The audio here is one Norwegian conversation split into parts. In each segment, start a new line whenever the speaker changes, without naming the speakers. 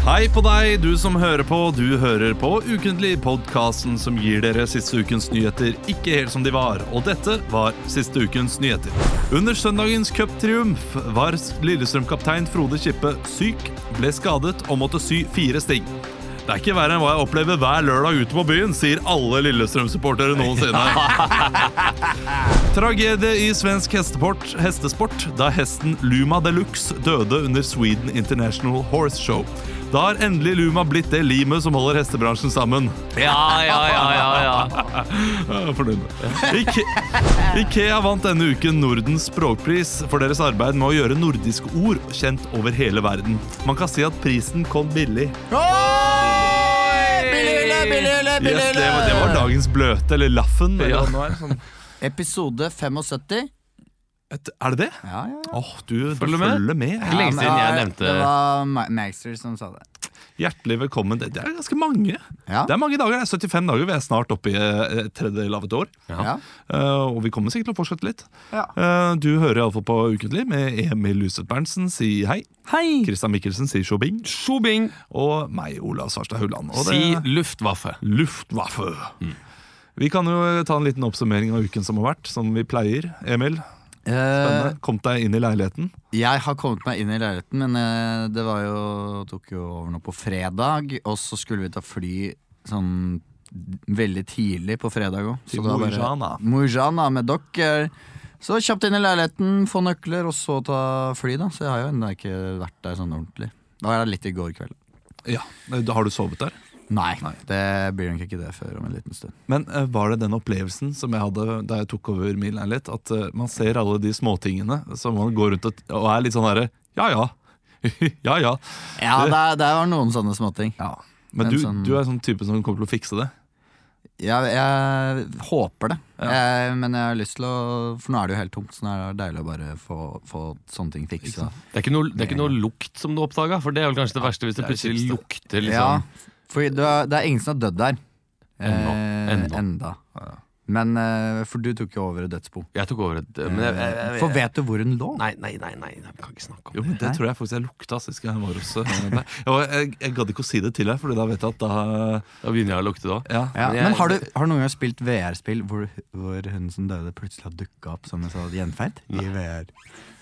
Hei på deg, du som hører på. Du hører på Ukentlig, podkasten som gir dere siste ukens nyheter ikke helt som de var. Og dette var siste ukens nyheter. Under søndagens cuptriumf var Lillestrøm-kaptein Frode Kippe syk, ble skadet og måtte sy fire sting. Det er ikke verre enn hva jeg opplever hver lørdag ute på byen, sier alle Lillestrøm-supportere noensinne. Tragedie i svensk hesteport, hestesport da hesten Luma Deluxe døde under Sweden International Horse Show. Da har endelig Luma blitt det limet som holder hestebransjen sammen.
Ja, ja, ja, ja, ja.
Ja, fornøyd. Ike Ikea vant denne uken Nordens språkpris for deres arbeid med å gjøre nordiske ord kjent over hele verden. Man kan si at prisen kom billig. Yes, det, var, det var dagens bløte, eller laffen. Eller
Ja.
hva det nå er, sånn.
Episode 75.
Et- Er det det?
Ja, ja, ja.
Åh, du, du
Følger
følger
med.
med.
Lenge
Ja,
siden
men
jeg
det-
nevnte-
Det var Ma- Maxer som sa det.
Hjertelig velkommen. Det, det er ganske mange.
Ja.
Det er mange dager, det er 75 dager. Vi er snart oppe i eh, et tredjedel av et år.
Ja.
Eh, og vi kommer sikkert til å fortsette litt.
Ja.
Eh, du hører iallfall på Ukentlig med Emil Luseth Berntsen si hei.
Hei!
Christian Mikkelsen sier tjobing.
Sjobing!
Og meg, Olav Svarstad Hulland. Og
Si
det-
luftwaffe.
Luftwaffe.
Mm.
Vi kan jo eh, ta en liten oppsummering av uken som har vært, som vi pleier. Emil,
Eh,
spennende. Kom deg inn i leiligheten.
jeg har kommet meg inn i leiligheten, men eh, det var jo, tok jo over nå på fredag. Og så skulle vi ta fly sånn veldig tidlig på fredag òg.
Til Mojana.
Mojana med dere. Så kjapt inn i leiligheten, få nøkler, og så ta fly, da. Så jeg har jo ennå ikke vært der sånn ordentlig. Da var jeg litt i går kveld.
Ja, Eh, da Har du sovet der?
Nei, det blir nok ikke det før om en liten stund.
Men eh, var det den opplevelsen som jeg hadde da jeg tok over min leilighet, at eh, man ser alle de småtingene som man går rundt og, og er litt sånn herre ja ja. ja ja.
Ja,
Det-
der, der var noen sånne småting.
Men
Men
du,
sånn-
du er sånn type som kommer til å fikse det.
Jeg, jeg håper det. Jeg, men jeg har lyst til å For nå er det jo helt tomt, så nå er det deilig å bare få, få sånne ting fiksa.
Det er ikke noe, det er ikke noe lukt som du oppdaga, for det er vel kanskje det verste hvis
det
det
er det
plutselig
kjipeste.
Ja,
lukter liksom
for det er, det er ingen som har dødd der. Eh,
Ennå. Ennå.
enda. Men eh, For du tok jo over et dødsbo.
Jeg tok over et Men jeg, jeg, jeg,
For vet du hvor hun lå?
Nei, nei, nei, nei, nei, vi kan ikke snakke
Jo,
om det.
men Det
Nei.
tror jeg faktisk jeg lukta sist gang jeg var hos eh, deg. Og Jeg, jeg gadd ikke å si det til deg, for da vet jeg at da
Da begynner jeg å lukte da.
Ja,
Ja,
Men jeg-
men har du, har du noen gang spilt VR-spill hvor, hvor hun som døde, plutselig har dukka opp som en sånn gjenferd? I VR.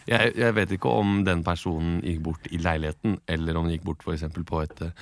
Jeg, jeg vet ikke om den personen gikk bort i leiligheten, eller om den gikk bort for eksempel på et eh,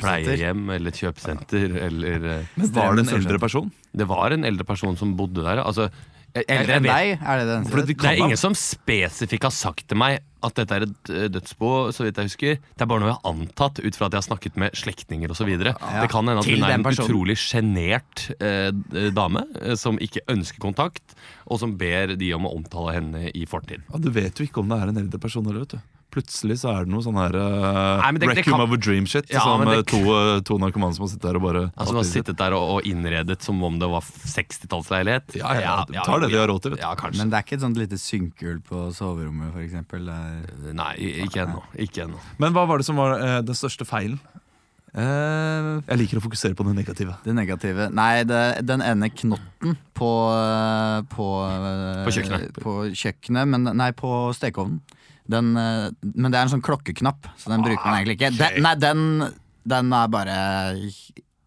pleiehjem eller et kjøpesenter. Eller, eh,
Men var det en
Ekstremt
eldre person?
det var en eldre person som bodde der. Altså, jeg, jeg,
Eldre
jeg
enn
vet,
deg, er det det eneste?
For det
det
kan
er
da-
ingen som spesifikt har sagt til meg at dette er et eh, dødsbo, så vidt jeg husker. Det er bare noe jeg har antatt ut fra at jeg har snakket med slektninger osv. videre Det kan hende at
Til
hun er
den
en
personen.
utrolig sjenert eh, d- dame eh, som ikke ønsker kontakt, og som ber de om å omtale henne i fortid.
Ja, du vet jo ikke om det er en eldre person eller, vet du. Plutselig så er det noe sånn her uh,
Nei, men det- det
Requiem
kan-
of a dream shit.
Ja,
som
men
eh,
det-
to, eh, to narkomane som har sittet der og bare
Altså, hun har sittet der og, og innredet som om det var 60-tallsleilighet.
Ja, ja, du tar det vi har råd til, vet du.
Ja, kanskje.
Men det er ikke et sånt lite synkehull på soverommet, for eksempel? Der.
Nei, ikke ennå. Ikke ennå.
Men hva var det som var eh, den største feilen? Eh, Jeg liker å fokusere på det negative.
det negative Nei, det, den ene knotten på eh, På, eh,
På kjøkkenet.
På kjøkkenet, men nei, på stekeovnen. Den, eh, men det er en sånn klokkeknapp, så den bruker
Ah,
man egentlig ikke. Den, nei, den, den er bare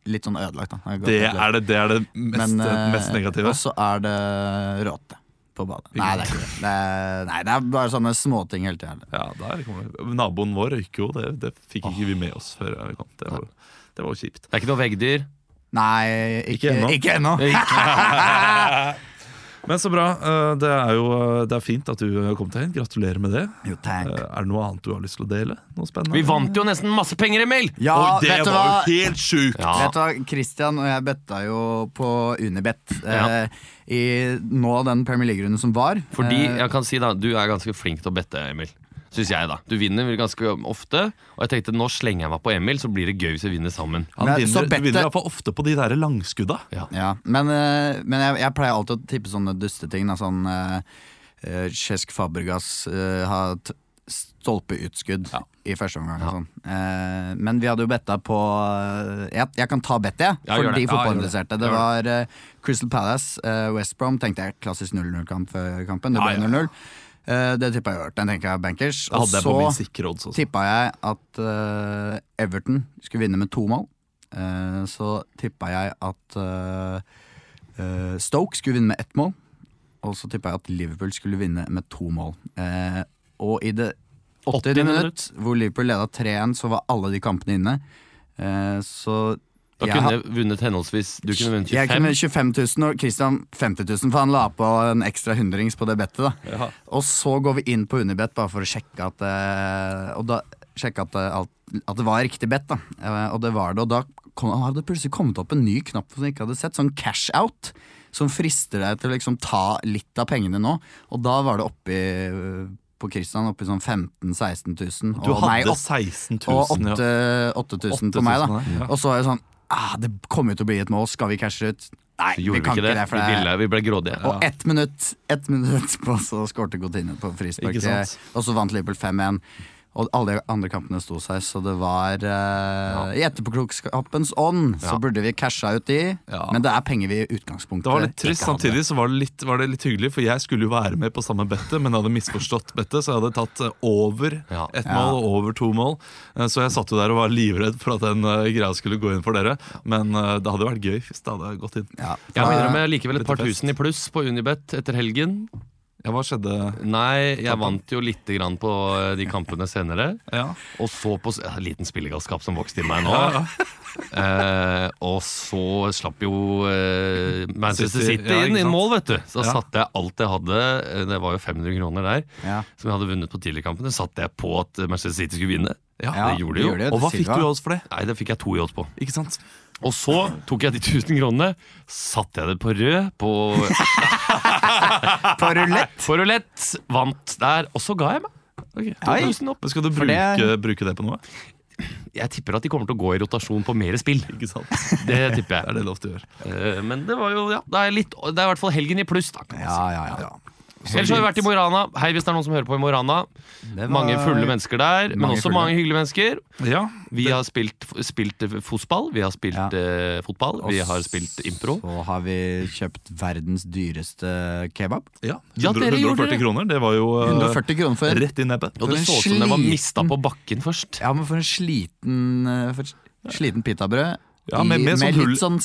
litt sånn ødelagt, da. Den gått
Det
litt
er det, det, er det mest,
Men, eh,
mest negative.
Og så er det råte på badet. Nei, det er ikke det. det er, nei, det er bare sånne småting hele tida.
Ja, der kommer det. Naboen vår røyker jo, det, det fikk ikke vi med oss før vi kom. Det var, det var jo kjipt.
Det er ikke noe veggdyr.
Nei,
Ikke
ikke,
ennå.
ikke ennå.
Men så bra. eh, Det er jo eh, det er fint at du kom deg inn. Gratulerer med det.
Jo,
Eh,
takk.
Er det noe annet du har lyst til å dele? Noe spennende?
Vi vant jo nesten masse penger, Emil!
Ja,
Oi, det
vet du
var
hva?
jo helt sjukt!
Ja.
Vet du hva, Christian og jeg betta jo på Unibet
Ja.
eh, i nå den Premier League-runden som var.
Fordi,
eh,
jeg kan si da, du er ganske flink til å bette, Emil. Synes jeg da Du vinner vel ganske ofte, og jeg tenkte nå slenger jeg meg på Emil, så blir det gøy hvis vi vinner sammen.
Han
Men så
vinner,
Bette-
vinner i hvert fall ofte på de der langskudda.
ja, men eh, men jeg, jeg pleier alltid å tippe sånne dusteting. da, Sånn eh, eh, Cesc Fabregas eh, har t stolpeutskudd i første omgang. og Sånn. Eh, men vi hadde jo betta på eh, jeg, jeg kan ta bettet, jeg.
Ja, gjør
for de
det. Ja, gjør det.
fotballinteresserte. Det var eh, Crystal Palace, eh, West Brom. Tenkte jeg klassisk 0-0-kamp før kampen. Det
Ja, ja,
ble
ja.
0-0. Eh, det tippa jeg Everton. Den tenker jeg er bankers.
Det hadde jeg på
Og
min
så
sikre odds også.
tippa jeg at eh, Everton skulle vinne med to mål. Eh, så tippa jeg at eh, eh, Stoke skulle vinne med ett mål. Og så tippa jeg at Liverpool skulle vinne med to mål. Eh, og i det 80.
80.
minutt, hvor Liverpool leda 3-1, så var alle de kampene inne. Eh, så
Da
jeg
kunne
har-
jeg vunnet henholdsvis Du kunne vunnet
jeg kunne
25.
25 000, og Christian 50 000, for han la på en ekstra hundrings på det bettet. da
Ja.
Og så går vi inn på Unibet bare for å sjekke at eh, Og da sjekke at, det alt- at det var riktig bet, da. Eh, Og det var det. Og da kom, hadde det plutselig kommet opp en ny knapp som jeg ikke hadde sett, sånn cash out. Som frister deg til å liksom ta litt av pengene nå. Og da var det oppi eh, på Christian oppi sånn 15 000-16 000.
Du
og,
hadde
nei, åtte-
16
og
000, ja.
8000 på meg, da.
8000, ja.
Og så var jeg sånn ah, Det kommer jo til å bli et mål, skal vi cashe ut? Nei,
Så
vi
gjorde vi
kan
ikke det.
for
Vi,
det er-
ville, vi ble grådige.
Og ett minutt Ett minutt på, så skårte Godinho på frispark.
Ikke sant?
Og så vant Liverpool 5-1. Og alle de andre kampene sto seg, så det var eh, I etterpåklokskapens ånd så
Ja.
burde vi casha ut de,
Ja.
men det er penger vi i
Det
utgangspunktet
var litt trist,
ikke hadde.
samtidig så var det litt, var det litt hyggelig, for jeg skulle jo være med på samme bettet, men jeg hadde misforstått bettet, så jeg hadde tatt eh, over
Ja.
ett mål og over to mål. Eh, Så jeg satt jo der og var livredd for at den eh, greia skulle gå inn for dere, men eh, det hadde vært gøy hvis det hadde gått inn.
Ja,
Jeg må
da-
innrømme likevel et par
Dette fest.
tusen i pluss på Unibet etter helgen.
Ja, hva skjedde?
Nei, jeg vant jo lite grann på eh, de kampene senere.
Ja.
Og så på s- ja, Liten spillegalskap som vokste i meg nå. Eh, og så slapp jo eh, Manchester
City,
City
ja,
inn
ikke
i
sant?
mål, vet du. Så da
Ja.
satte jeg alt jeg hadde, eh, det var jo 500 kroner der,
Ja.
som jeg hadde vunnet på tidligere kampen, det satte jeg på at eh, Manchester City skulle vinne.
Ja,
det gjorde det jo.
gjorde det.
Og hva fikk
Silva.
du av oss for det?
Nei, det fikk jeg to i odds på.
Ikke sant?
Og så tok jeg de 1000 kronene, satte jeg det på rød på,
På rulett!
på rulett, vant der, og så ga jeg meg.
Oi.
2000 opp.
Men skal du
For
bruke
det-
det, bruke det på noe?
Jeg tipper at de kommer til å gå i rotasjon på mer spill.
Ikke sant?
Det
Det
tipper jeg.
er det lov til å gjøre.
Eh, Men det var jo, ja, det er, litt, det er i hvert fall helgen i pluss. da kan man
Ja, ja, ja.
si. Ellers har vi vært i Mo i Rana. Hei, hvis det er noen som hører på i Mo i Rana.
Det var-
Mange fulle mennesker der, men
Mange
også
fulle.
mange hyggelige mennesker.
Ja,
Vi har spilt, spilt eh, fotball, vi har spilt
Ja.
eh, fotball, vi
Og
har spilt impro.
Så har vi kjøpt verdens dyreste kebab.
ja.
Ja, dere gjorde
140
det.
kroner, det var jo eh,
140 kroner for en
rett i nebbet.
Og det
For
så
en
ut som den var
sliten-
mista på bakken først.
Ja, men for en sliten eh, For et sliten pitabrød.
Ja,
i-
med- med sånn hull-
litt sånn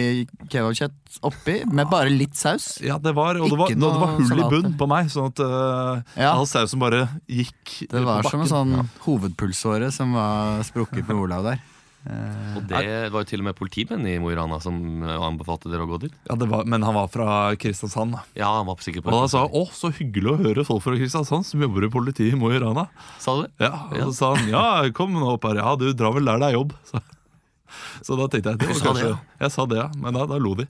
salami-kebabkjøtt oppi, med bare litt saus.
Ja, det var, og det
Ikke
var, det var
noe
hull
salat.
i bunn på meg, sånn at eh,
Ja.
all sausen bare gikk
Det
ut
var
på
som en
bakken.
sånn hovedpulsåre som var sprukket på Olav der.
Og det var jo til og med politimenn i Mo i Rana som eh, anbefalte dere å gå dit.
sånn-
ja, det var, Men han var fra Kristiansand. da.
Ja, han var sikker på
Og da sa han å, så hyggelig å høre folk fra Kristiansand som jobber i politiet i Mo i Rana.
Sa du det?
Ja, og
Ja.
så sa han ja, kom nå opp her. Ja, du drar vel der det er jobb. Så, så da tenkte jeg det var
sa det,
kanskje
ja.
Jeg sa det, ja. Men da, da lo de.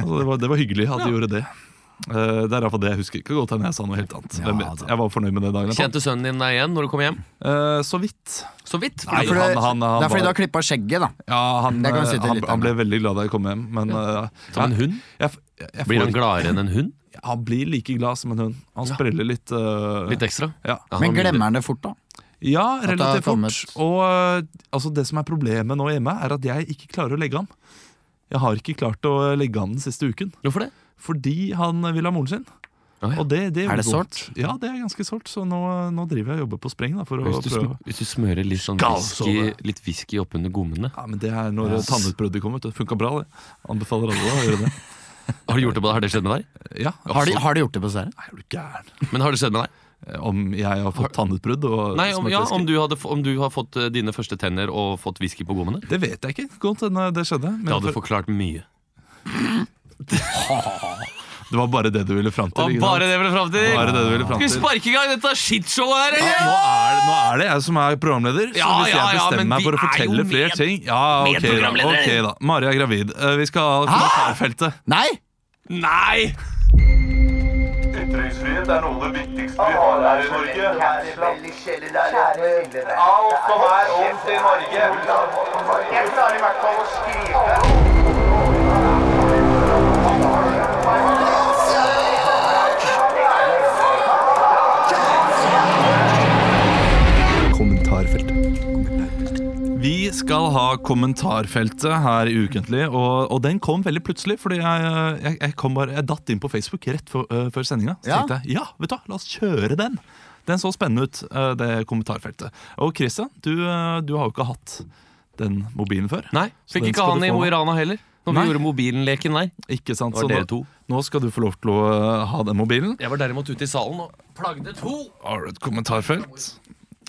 Altså, det, var, det var hyggelig at de gjorde det. Eh, det er iallfall det jeg husker. Ikke godt hende jeg sa noe helt annet. Hvem
Ja,
vet.
da.
Jeg var fornøyd med det dagen etterpå.
Kjente sønnen din deg igjen når du kom hjem?
Eh, så vidt.
Så vidt.
Nei,
For
for
det,
han-
du-
han- han
det er fordi du
var-
har klippa skjegget, da.
Ja, han,
Det kan vi si
eh,
til
han,
lytterne.
han ble veldig glad da jeg kom hjem, men eh,
Som en
jeg-
hund?
Jeg, jeg, jeg
Blir
får
han
ikke-
gladere enn en hund?
Han blir like glad som en hund. Han spreller litt. eh,
Litt ekstra?
ja.
Ja, han
Men
var mindre.
glemmer han det fort, da?
ja,
det har
relativt fort.
kommet.
Og eh, altså, det som er problemet nå hjemme, er at jeg ikke klarer å legge han. Jeg har ikke klart å eh, legge han den siste uken.
Hvorfor det?
Fordi han eh, vil ha moren sin.
Å, ja.
Og det, det
Er det
vondt. Ja, det er ganske sårt. Så nå, eh, nå driver jeg og jobber på spreng da, for å
Hvis du, sm
prøve.
hvis du smører litt sånn
Skal
whisky, litt whisky oppunder gommene
Ja, men det er når eh, tannutbruddet kommer. Det funka bra, det. Anbefaler alle å gjøre det.
Har du gjort det på deg? Har det skjedd med deg?
Ja, altså.
Har de, har de gjort det på serien?
Nei, er du gæren?
Men har det skjedd med deg?
Eh, Om jeg har fått tannutbrudd og
Nei, om, ja,
smerteliske-
om, du hadde, f- om du har fått eh, dine første tenner og fått whisky på gommene?
Det vet jeg ikke. Godt hende det skjedde.
Det
Men
hadde
for,
forklart mye.
det var bare det du ville fram til.
Og
ikke sant?
bare det ble fram til!
Bare det du ville
Skal
fram
vi
til.
sparke i gang dette shitshowet her,
Ja,
eller?
Nå er, det, nå er det jeg som er programleder, så
Ja,
hvis
ja,
jeg
ja,
bestemmer
men
meg for å
vi er jo
fortelle
med-
flere ting Ja, ok da.
medprogramledere.
ok da Mari er gravid. Eh, Vi skal ha kommentarfeltet.
Nei!
Nei!
Ytringsfrihet er noe av det viktigste vi har her i Norge. Alt som er ondt i Norge. Jeg klarer i hvert fall å skrive.
Vi skal ha kommentarfeltet her i Ukentlig, og, og den kom veldig plutselig. Fordi jeg, jeg, jeg, kom bare, jeg datt inn på Facebook rett før, uh, før sendinga. Så
Ja.
tenkte jeg ja, vet du hva, la oss kjøre den. Den så spennende ut, uh, det kommentarfeltet. Og Christian, du, uh, du har jo ikke hatt den mobilen før.
Nei,
Så
fikk
den
ikke
skal
han
du
i
få.
Mo i Rana heller. Når vi
Nei.
gjorde mobilen leken der.
Ikke sant?
Det var
Så
dere
nå,
to.
nå skal du få lov til å uh, ha den mobilen.
Jeg var derimot ute i salen og plagde to.
Har du et kommentarfelt?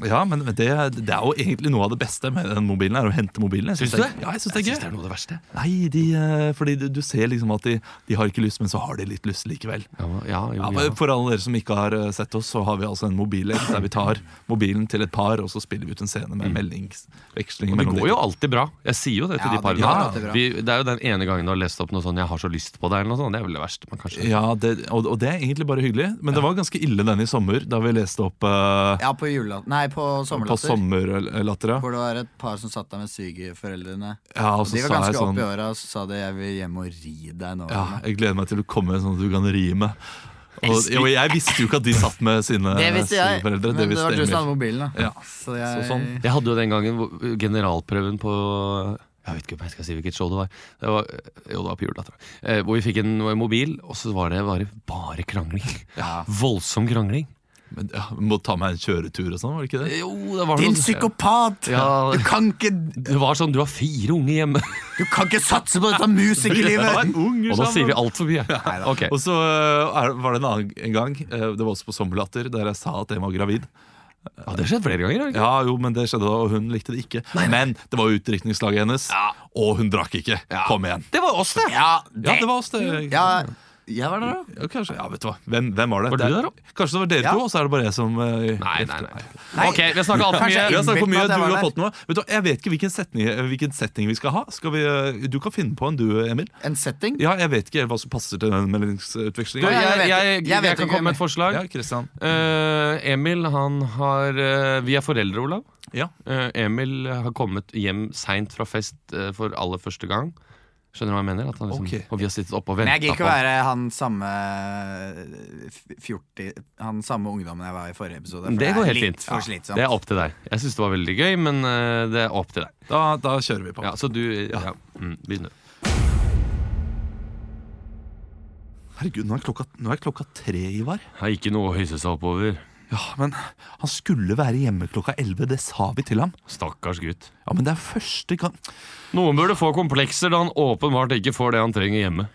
Ja, men det, det er jo egentlig noe av det beste med den mobilen. er å hente mobilen. Jeg
Syns du
det,
det?
ja, jeg synes det er gøy.
det er noe av det verste.
Nei, de, eh, fordi du, du ser liksom at de, de har ikke lyst, men så har de litt lyst likevel.
Ja, ja, jo,
Ja,
ja.
men for alle dere som ikke har eh, sett oss, så har vi altså en mobillek der vi tar mobilen til et par, og så spiller vi ut en scene med
Mm.
meldingsveksling.
Det
mellom de
går jo
to.
alltid bra. Jeg sier jo det til
Ja,
de parene.
det går alltid bra.
Vi- det er jo den ene gangen du har lest opp noe sånn 'jeg har så lyst på deg', eller noe sånt. Det er vel det verste. Man kanskje
Ja, det, og, og det er egentlig bare hyggelig, men det var ganske ille den i sommer, da vi leste opp eh,
Ja, på julelatter Nei, på
på
sommerlatter.
sommerlattera.
Hvor det var et par som satt der med svigerforeldrene.
Ja, og så
De var
sa
ganske
jeg
oppe
sånn
i åra, og så sa de 'jeg vil hjem og ri deg nå'.
Ja,
eller noe.
jeg gleder meg til du kommer sånn at du kan rime. Og, og jeg visste jo ikke at de satt med sine sine foreldre.
Men
Eh, Det
det,
visste
var du som hadde
Emil.
mobilen, da.
Ja.
Så jeg,
Så sånn.
Jeg hadde jo den gangen hvor- generalprøven på Jeg vet ikke om jeg skal si hvilket show det var. Det var jo, det var på julelatter. Eh, hvor vi fikk en mobil, og så var det bare, bare krangling.
Ja.
Voldsom krangling.
Men, ja, må ta meg en kjøretur og sånn, var det ikke det?
Jo, det var
Din
noe-
psykopat!
Ja.
Du, kan ikke,
Det var sånn, du har fire unge hjemme.
du kan ikke satse på dette musikerlivet!
unger
Og da sier vi altfor mye. Ok.
Og så eh, er, var det en annen en gang, eh, det var også på Sommerlatter, der jeg sa at jeg var gravid.
Ja, det har skjedd flere ganger. har det ikke?
Ja, jo, men det skjedde da, og hun likte det ikke. Men det var jo utdrikningslaget hennes, og hun drakk ikke. Kom igjen.
Det var oss, det.
Ja,
Ja, det var oss, det.
ja, jeg var der, da.
Ja, kanskje, ja, vet du hva. Hvem, hvem var det?
Var du
Det er-
der også?
Kanskje det var dere
Ja.
to, og så er det bare jeg som eh,
Nei, nei, nei. Ok, vi har snakket alt for
Kanskje
mye.
Vi har snakket
innbilt meg
for mye,
at
du
jeg var
har
der.
fått noe Vet du, hva, Jeg vet ikke hvilken setning, hvilken setning vi skal ha. Skal vi, eh, du kan finne på en du, Emil.
En setting.
Ja, Jeg vet ikke helt hva som passer til den meldingsutvekslinga.
Du,
Ja,
Jeg, jeg,
vet-
jeg,
jeg vet
kan
ikke,
komme med et forslag.
Kristian.
Eh, Emil, han har eh, Vi er foreldre, Olav.
Ja.
Eh, Emil har kommet hjem seint fra fest eh, for aller første gang. Skjønner du hva jeg mener? At han liksom,
Ok.
Og vi har sittet oppe og
Men
venta
jeg gidder ikke
på
å
han.
være han samme eh, f- 40 Han samme ungdommen jeg var i forrige episode. for
Det
er
går helt
litt
fint.
For slitsomt.
Det er opp til deg. Jeg syns det var veldig gøy, men eh, det er opp til deg.
Da, da kjører vi på.
Ja, så du ja. Mm, begynn du.
Herregud, nå er, klokka, nå er klokka tre, Ivar.
Har ikke noe å høyse seg opp over.
Ja, men Han skulle være hjemme klokka elleve, det sa vi til ham.
Stakkars gutt.
Ja, Men det er første gang
Noen burde få komplekser da han åpenbart ikke får det han trenger hjemme.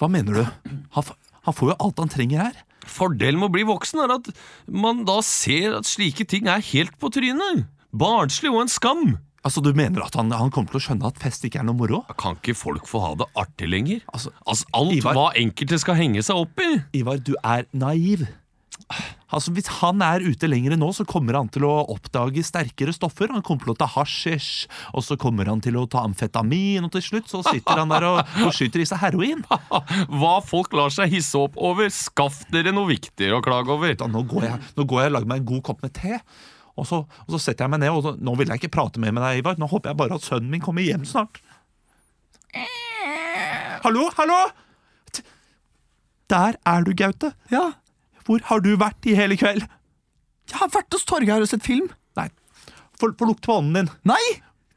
Hva mener du? Han, f- han får jo alt han trenger her.
Fordelen med å bli voksen er at man da ser at slike ting er helt på trynet. Barnslig og en skam.
Altså, Du mener at han, han kommer til å skjønne at fest ikke er noe moro?
Kan ikke folk få ha det artig lenger?
Altså,
Altså Alt
Ivar-
hva enkelte skal henge seg opp i.
Ivar, du er naiv. Altså, Hvis han er ute lenger enn nå, så kommer han til å oppdage sterkere stoffer. Han kommer til å ta hasjisj, og så kommer han til å ta amfetamin, og til slutt så sitter han der og, og skyter i seg heroin.
Hva folk lar seg hisse opp over, skaff dere noe viktigere å klage over.
Da, nå, går jeg, nå går jeg og lager meg en god kopp med te, og så, og så setter jeg meg ned. og så, Nå vil jeg ikke prate mer med deg, Ivar. Nå håper jeg bare at sønnen min kommer hjem snart. Hallo, hallo! T- Der er du, Gaute.
Ja,
Hvor har du vært i hele kveld?
Jeg har vært hos Torgeir og sett film.
Nei, få få lukte på ånden din.
Nei!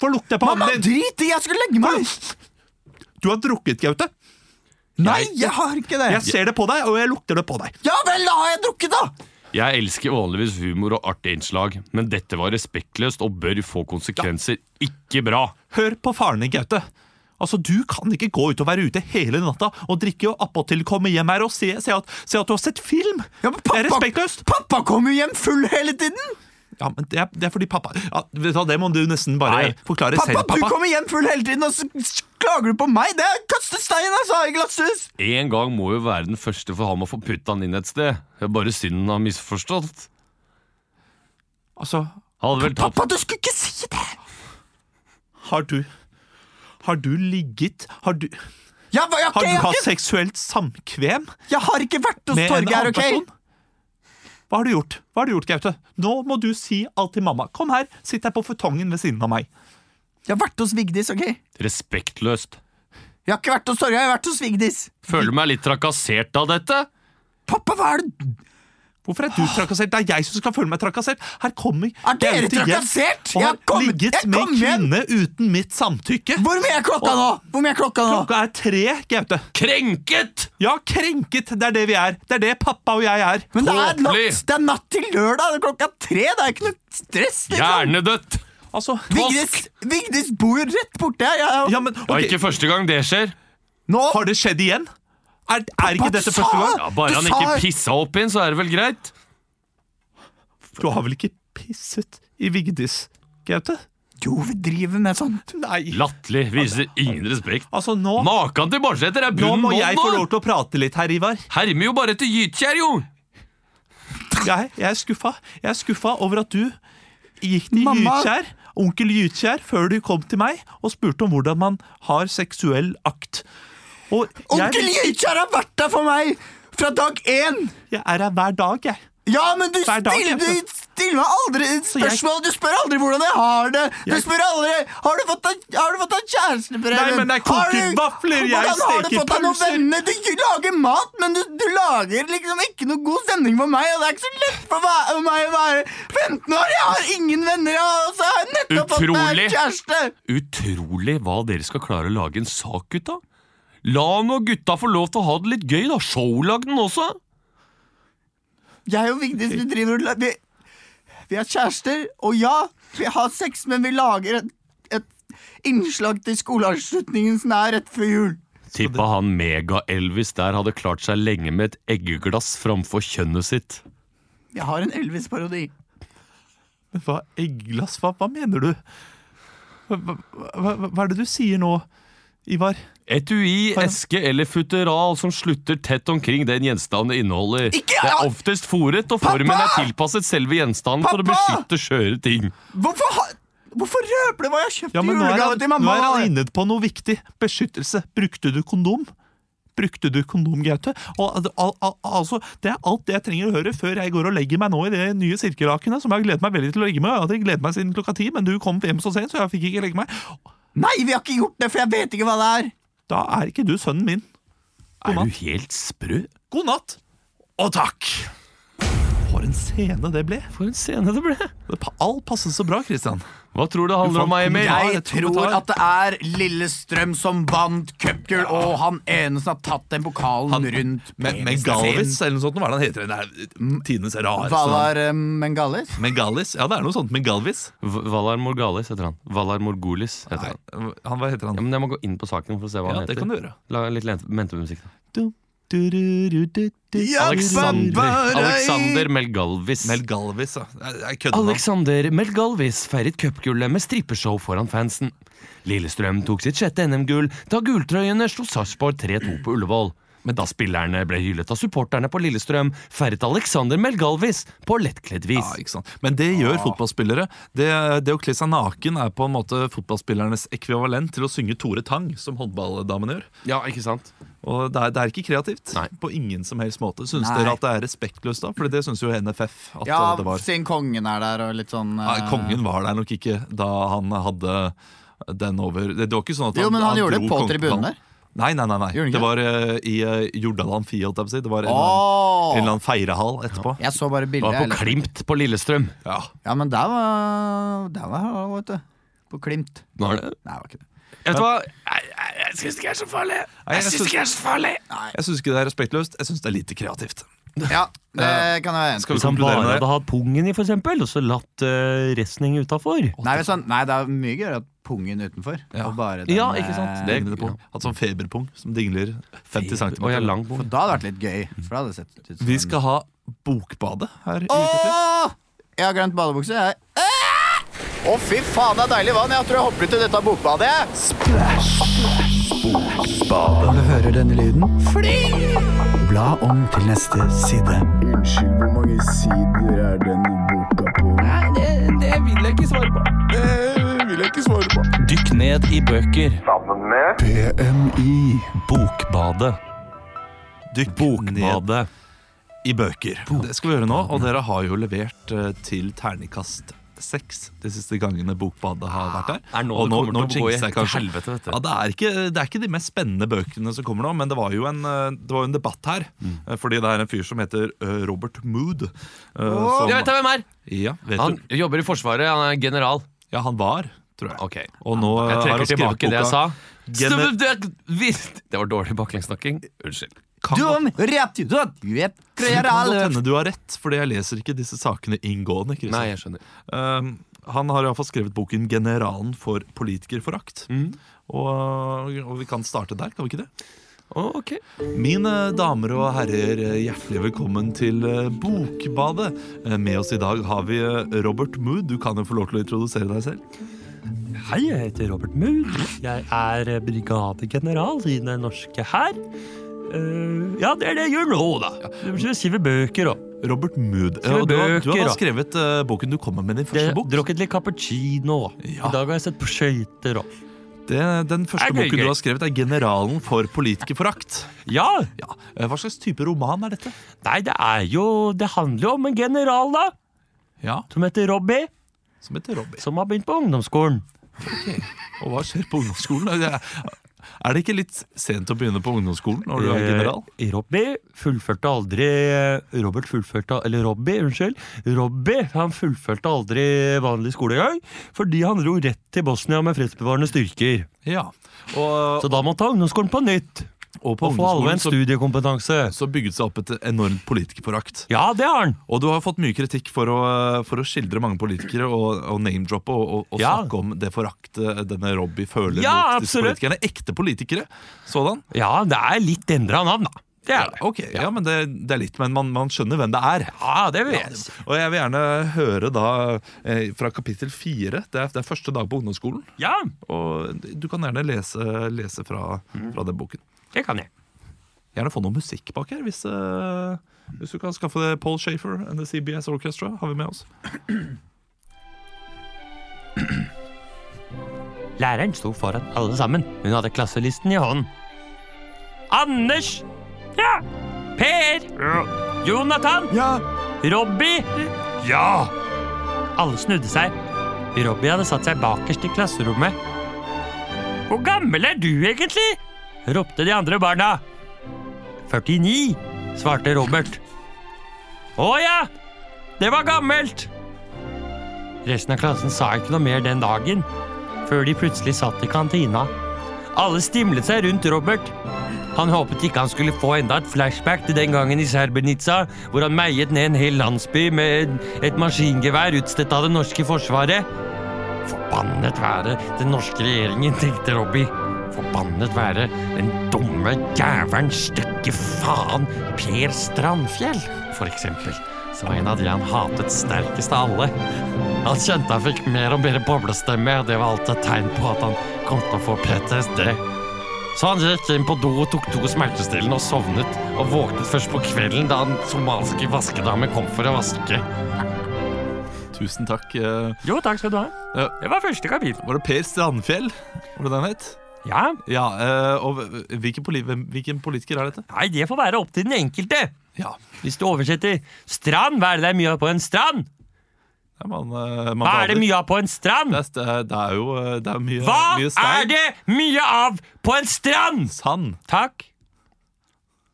Få lukte på
Mamma,
ånden din!
drit i! Jeg skulle legge meg!
Du har drukket, Gaute.
Nei, jeg har ikke det!
Jeg ser det på deg, og jeg lukter det på deg.
Ja vel, da har jeg drukket, da!
Jeg elsker vanligvis humor og artige innslag, men dette var respektløst og bør få konsekvenser. Ikke bra.
Hør på faren din, Gaute. Altså, Du kan ikke gå ut og være ute hele natta og drikke og appåtil komme hjem her og se, se, at, se at du har sett film!
Ja, men
Det er
pappa-
respektløst!
Pappa kommer jo hjem full hele tiden!
Ja, men Det er, det er fordi pappa ja, vet du, hva, Det må du nesten bare
Nei.
forklare
Pappa,
selv, pappa.
du kommer hjem full hele tiden, og så s- klager du på meg! Det er kaste stein, altså! I glasshus!
En gang må jo være den første for ham å få putta han inn et sted. Det er bare synden han har misforstått.
Altså,
Han hadde vel tatt
Pappa, du skulle ikke si det!
har du Har du ligget Har du,
Jeg, var- jeg,
har du
jeg,
hatt
jeg,
seksuelt samkvem
jeg har ikke vært hos
med en
Torgeir,
annen
OK?
person? Hva har du gjort, Hva har du gjort, Gaute? Nå må du si alt til mamma. Kom her, sitt her på futongen ved siden av meg.
Jeg har vært hos Vigdis, OK?
respektløst.
Jeg har ikke vært hos Torgeir, jeg har vært hos Vigdis.
Føler meg litt trakassert av dette.
Pappa, hva er det
Hvorfor er du trakassert? Det er jeg som skal føle meg trakassert! Her kommer
Er dere
jeg ut igjen
trakassert?
Og
Jeg
har
kom-
ligget
jeg
med
kom hjem.
kvinne uten mitt samtykke!
Hvor mye er klokka nå? Hvor mye er klokka nå?
Klokka er tre, Gaute.
Krenket!
Ja, krenket! Det er det vi er. Det er det pappa og jeg er.
Men det er,
Tåpelig.
natt, det er natt til lørdag, det er klokka tre. Det er ikke noe stress. Liksom.
Hjernedødt!
Altså
Vigdis, Vigdis bor jo rett borte her. Jeg,
Ja, men
Det er
ok,
ikke første gang det skjer.
nå
Har det skjedd igjen? Er, er ikke
Pappa, sa-
dette første gang?
Ja, Bare
Du
han
sa-
ikke pissa opp inn, så er det vel greit?
Du har vel ikke pisset i Vigdis, Gaute?
Jo, vi driver med sånn. sånt.
Nei.
Latterlig. Viser ingen respekt.
Altså, nå,
Makan til barnsligheter er
nå
bunnen
må jeg få lov
bånd!
til å prate litt her, Ivar.
Hermer jo bare etter gytkjær, jo!
Jeg, jeg er skuffa. Jeg er skuffa over at du gikk til
Mamma-
Gytkjær, onkel Gytkjær, før du kom til meg og spurte om hvordan man har seksuell akt. Og
Onkel
jeg,
Gytkjær har vært der for meg fra dag én.
jeg er her hver dag, jeg.
Ja, men du
Hver dag,
stiller,
Jeppe.
du stiller meg aldri et
jeg-
spørsmål. Du spør aldri hvordan jeg har det. Du
Jeg-
spør aldri Har du fått deg har du fått deg kjæreste, Preben?
Nei, men jeg koker
Har du-
vafler, jeg
Hvordan har du
steker
fått deg noen
pølser.
venner? Du lager mat, men du, du lager liksom ikke noe god stemning for meg. Og det er ikke så lett for meg- for meg å være 15 år. Jeg har ingen venner, og så har jeg nettopp fått meg
Utrolig.
en kjæreste.
Utrolig hva dere skal klare å lage en sak ut av. La nå gutta få lov til å ha det litt gøy, da. Showlag den også.
Jeg og Vigdis vi driver og la- vi, vi er kjærester, og ja, vi har sex, men vi lager et, et innslag til skoleavslutningen som er rett før jul.
Tippa han Mega-Elvis der hadde klart seg lenge med et eggeglass framfor kjønnet sitt.
Jeg har en Elvis-parodi.
Men hva, egglass, hva, hva mener du? Hva, hva, hva, hva er det du sier nå, Ivar?
Etui, eske eller futteral som slutter tett omkring den gjenstanden det inneholder.
Ikke-
det er oftest fòret, og formen er
Pappa!
tilpasset selve gjenstanden for å
Pappa!
beskytte skjøre ting.
Hvorfor, ha, hvorfor røper du hva jeg kjøpte
Ja,
i
men nå er,
julegave
han,
til
nå
mamma?
er han inne på noe viktig. Beskyttelse. Brukte du kondom? Brukte du kondom, Gaute? Og, al, al, altså, det er alt det jeg trenger å høre før jeg går og legger meg nå i det nye sirkelakenet, som jeg har gledet meg veldig til å legge meg i. Jeg hadde gledet meg siden klokka ti, men du kom hjem så sent, så jeg fikk ikke legge meg.
Nei, vi har ikke gjort det, for jeg vet ikke hva det er.
Da er ikke du sønnen min.
Er
natt.
du helt sprø?
God natt! Og takk! For en scene det ble.
For en scene det ble.
Det pa- Alt passet så bra, Christian.
Hva tror du det handler om, Emil?
Ja,
Jeg
jeg tror vi
tror
tar-
at det er Lillestrøm som vant cupgull, og han ene som har tatt den pokalen rundt
Men,
penisen
Megalis,
sin.
eller noe sånt. Hva er det han heter? Det er tidenes
Hva
rareste navn.
var eh, Mengalis?
Megalis? Ja, det er noe sånt. Megalvis.
V- Valar Morgalis heter han. Valar Morgulis heter han.
Nei, han, hva heter han?
Ja, men jeg må gå inn på saken for å se hva
Ja,
han
det
heter.
kan du gjøre.
La litt lent- mentemusikk. da.
Ja.
Alexander,
bare-
Alexander Melgalvis.
Mel Galvis, ja. Jeg- Jeg kødder nå.
Alexander Melgalvis feiret cupgullet med strippeshow foran fansen. Lillestrøm tok sitt sjette NM-gull da gultrøyene slo Sarpsborg 3-2 på Ullevål. Men da spillerne ble hyllet av supporterne på Lillestrøm, feiret Alexander Melgalvis på lettkledd vis.
Ja, ikke sant. Men det gjør fotballspillere. Det, det å kle seg naken er på en måte fotballspillernes ekvivalent til å synge Tore Tang, som håndballdamene gjør.
Ja, ikke sant?
Og det er, det er ikke kreativt.
Nei.
På ingen som helst måte. Syns
Nei.
dere at det er respektløst, da? For det syns jo NFF. at
Ja,
eh, det var.
siden kongen er der og litt sånn
Nei,
eh,
kongen var der nok ikke da han hadde den over Det var ikke sånn at
Jo, men han gjorde
dro
det på
kongen-
tribunen der.
Nei, nei, nei. nei.
Gjorde han ikke
Det var eh, i eh, Jordal Amfi, holdt jeg på å si. Det var en,
Åh!
en eller annen feirehall etterpå.
Jeg så bare
Det
bildet.
var
jeg-
på Klimt på Lillestrøm.
Ja.
Ja, men der var Der var han, vet du. På Klimt.
Nå er det.
Nei, det var ikke det.
Vet du hva? Jeg, jeg, jeg syns det ikke er så
Nei,
farlig.
jeg
Jeg syns
syns-
det ikke er så farlig.
Jeg syns ikke det er respektløst. Jeg syns det er lite kreativt.
Ja, det kan jeg være enig i.
Skal vi konkludere med det?
hatt pungen i, for eksempel, og så latt uh, resten henge utafor.
Nei, men sånn, nei, det er mye gøyere at pungen utenfor.
Ja.
Og bare den,
Ja, ikke sant?
eh,
Det-
Dinglende pung. Hatt sånn feberpung som dingler 50 cm.
Og jeg er lang pung.
Da hadde det vært litt gøy. For da hadde det sett ut som
Vi skal ha Bokbadet her. i Ukentlig.
Åh! Jeg har glemt badebukse, jeg. Æ! Å, fy faen, det er deilig vann. Jeg tror jeg hopper ut i dette bokbadet. jeg. Når du hører denne lyden, fly! Bla om til neste side.
Unnskyld, hvor mange sider er denne boka på? Nei, det, vil jeg ikke svare på. Det
Dykk ned i bøker.
Sammen med
vil jeg ikke svare på. PMI.
Bokbadet.
Dykk ned
Bokbadet.
i bøker. Det skal vi gjøre nå, og dere har jo levert eh, til terningkast seks de siste gangene Bokbadet har vært der.
Er nå
og
det kommer til å gå i
jinxer
til
jeg kanskje.
helvete, vet du.
Ja, det, er ikke, det er ikke de mest spennende bøkene som kommer nå, men det var jo en, eh, det var jo en debatt her.
Mm.
eh, Fordi det er en fyr som heter eh, Robert Mood. eh, som-
Jeg vet da hvem er!
ja, vet
Han
du.
jobber i Forsvaret, han er general.
ja, han var, tror jeg.
Ok,
Og nå eh,
Jeg
har han
trekker
skrevet
tilbake det jeg sa.
Gene-
Stopp, det- vi- Det var dårlig baklengssnakking. Unnskyld.
Kan godt-
Dum, rett, død, vet,
det kan godt
kreral.
hende du har rett, fordi jeg leser ikke disse sakene inngående. Christian.
Nei, jeg skjønner.
Um, han har iallfall skrevet boken 'Generalen for politikerforakt'.
Mm.
Og, og vi kan starte der, kan vi ikke det?
Ok.
Mine damer og herrer, hjertelig velkommen til eh, Bokbadet. Eh, Med oss i dag har vi eh, Robert Mood. Du kan jo få lov til å introdusere deg selv.
Hei, jeg heter Robert Mood. Jeg er brigadegeneral i den norske hær. Eh, ja, det er det jeg gjør nå, da. Jeg skriver bøker og
Robert Mood. Eh,
Skriver
Og du, har- du
bøker,
har
da.
da skrevet eh, boken du kommer med, din
jeg
første
har
bok.
drukket litt cappuccino. og
Ja.
I dag har jeg sett på skøyter og
Det, den første
Er gøy,
boken
gøy.
du har skrevet, er 'Generalen for politikerforakt'.
Ja!
Ja. eh, Hva slags type roman er dette?
Nei, det er jo Det handler jo om en general, da.
Ja,
Som heter Robbie.
Som heter Robbie.
Som har begynt på ungdomsskolen.
Og hva skjer på ungdomsskolen? Er det- Er det ikke litt sent å begynne på ungdomsskolen når du er general?
Eh, Robbie fullførte aldri eh, Robert fullførte Eller Robbie, unnskyld. Robbie han fullførte aldri vanlig skolegang fordi han dro rett til Bosnia med fredsbevarende styrker.
Ja. Og,
Så da måtte han ungdomsskolen på nytt
og på
og få
ungdomsskolen
allmenn
så,
studiekompetanse.
så bygget seg opp et enormt politikerforakt.
Ja, det har han.
Og du har fått mye kritikk for å, for å skildre mange politikere og, og name-droppe og, og, og
Ja.
snakke om det foraktet denne Robbie føler
Ja,
mot disse
absolutt.
politikerne. Ekte politikere, sådan.
Ja, det er litt endra navn, da. Det er det.
Ok, ja, men det, det er litt, men man, man skjønner hvem det er.
Ja, det vil
Ja,
jeg si.
og jeg vil gjerne høre da eh, fra kapittel fire. Det, er- det er første dag på ungdomsskolen.
Ja,
Og du kan gjerne lese, lese fra,
Mm.
fra den boken.
det kan jeg.
Gjerne få noe musikk bak her, hvis, eh, hvis du kan skaffe det. Paul Shafer and The CBS Orchestra har vi med oss.
Læreren sto foran alle sammen. Hun hadde klasselisten i hånden. Anders! Ja! Per! Jonathan!
Ja,
Robbie! Ja! Alle snudde seg. Robbie hadde satt seg bakerst i klasserommet. Hvor gammel er du egentlig? ropte de andre barna. 49, svarte Robert. Å ja, det var gammelt! Resten av klassen sa ikke noe mer den dagen, før de plutselig satt i kantina. Alle stimlet seg rundt Robert. Han håpet ikke han skulle få enda et flashback til den gangen i Serbenica, hvor han meiet ned en hel landsby med et maskingevær utstedt av det norske forsvaret. Forbannet være den norske regjeringen, tenkte Robbie. Forbannet være den dumme jævelen stekke faen Per Strandfjell, for eksempel. Som var en av de han hatet sterkest av alle. Han kjente han fikk mer og mer boblestemme, og det var alltid et tegn på at han kom til å få PTSD. Så han gikk inn på do og tok to smertestillende og sovnet, og våknet først på kvelden da den somaliske vaskedamen kom for å vaske.
Tusen takk. eh,
Jo, takk skal du ha.
Ja.
Det var første kapittel.
Var det Per Strandfjell? Var det den het?
Ja,
Ja, eh, og hvilken, poli hvem- hvilken politiker er dette?
nei, det får være opp til den enkelte.
Ja,
Hvis du oversetter strand, hva er det det er mye av på en strand?
det er man, eh, man
Hva er det
bader.
mye av på en strand?
Det er, det er jo eh, det er mye,
Hva
mye
er det mye av på en strand?
Sand.
Takk.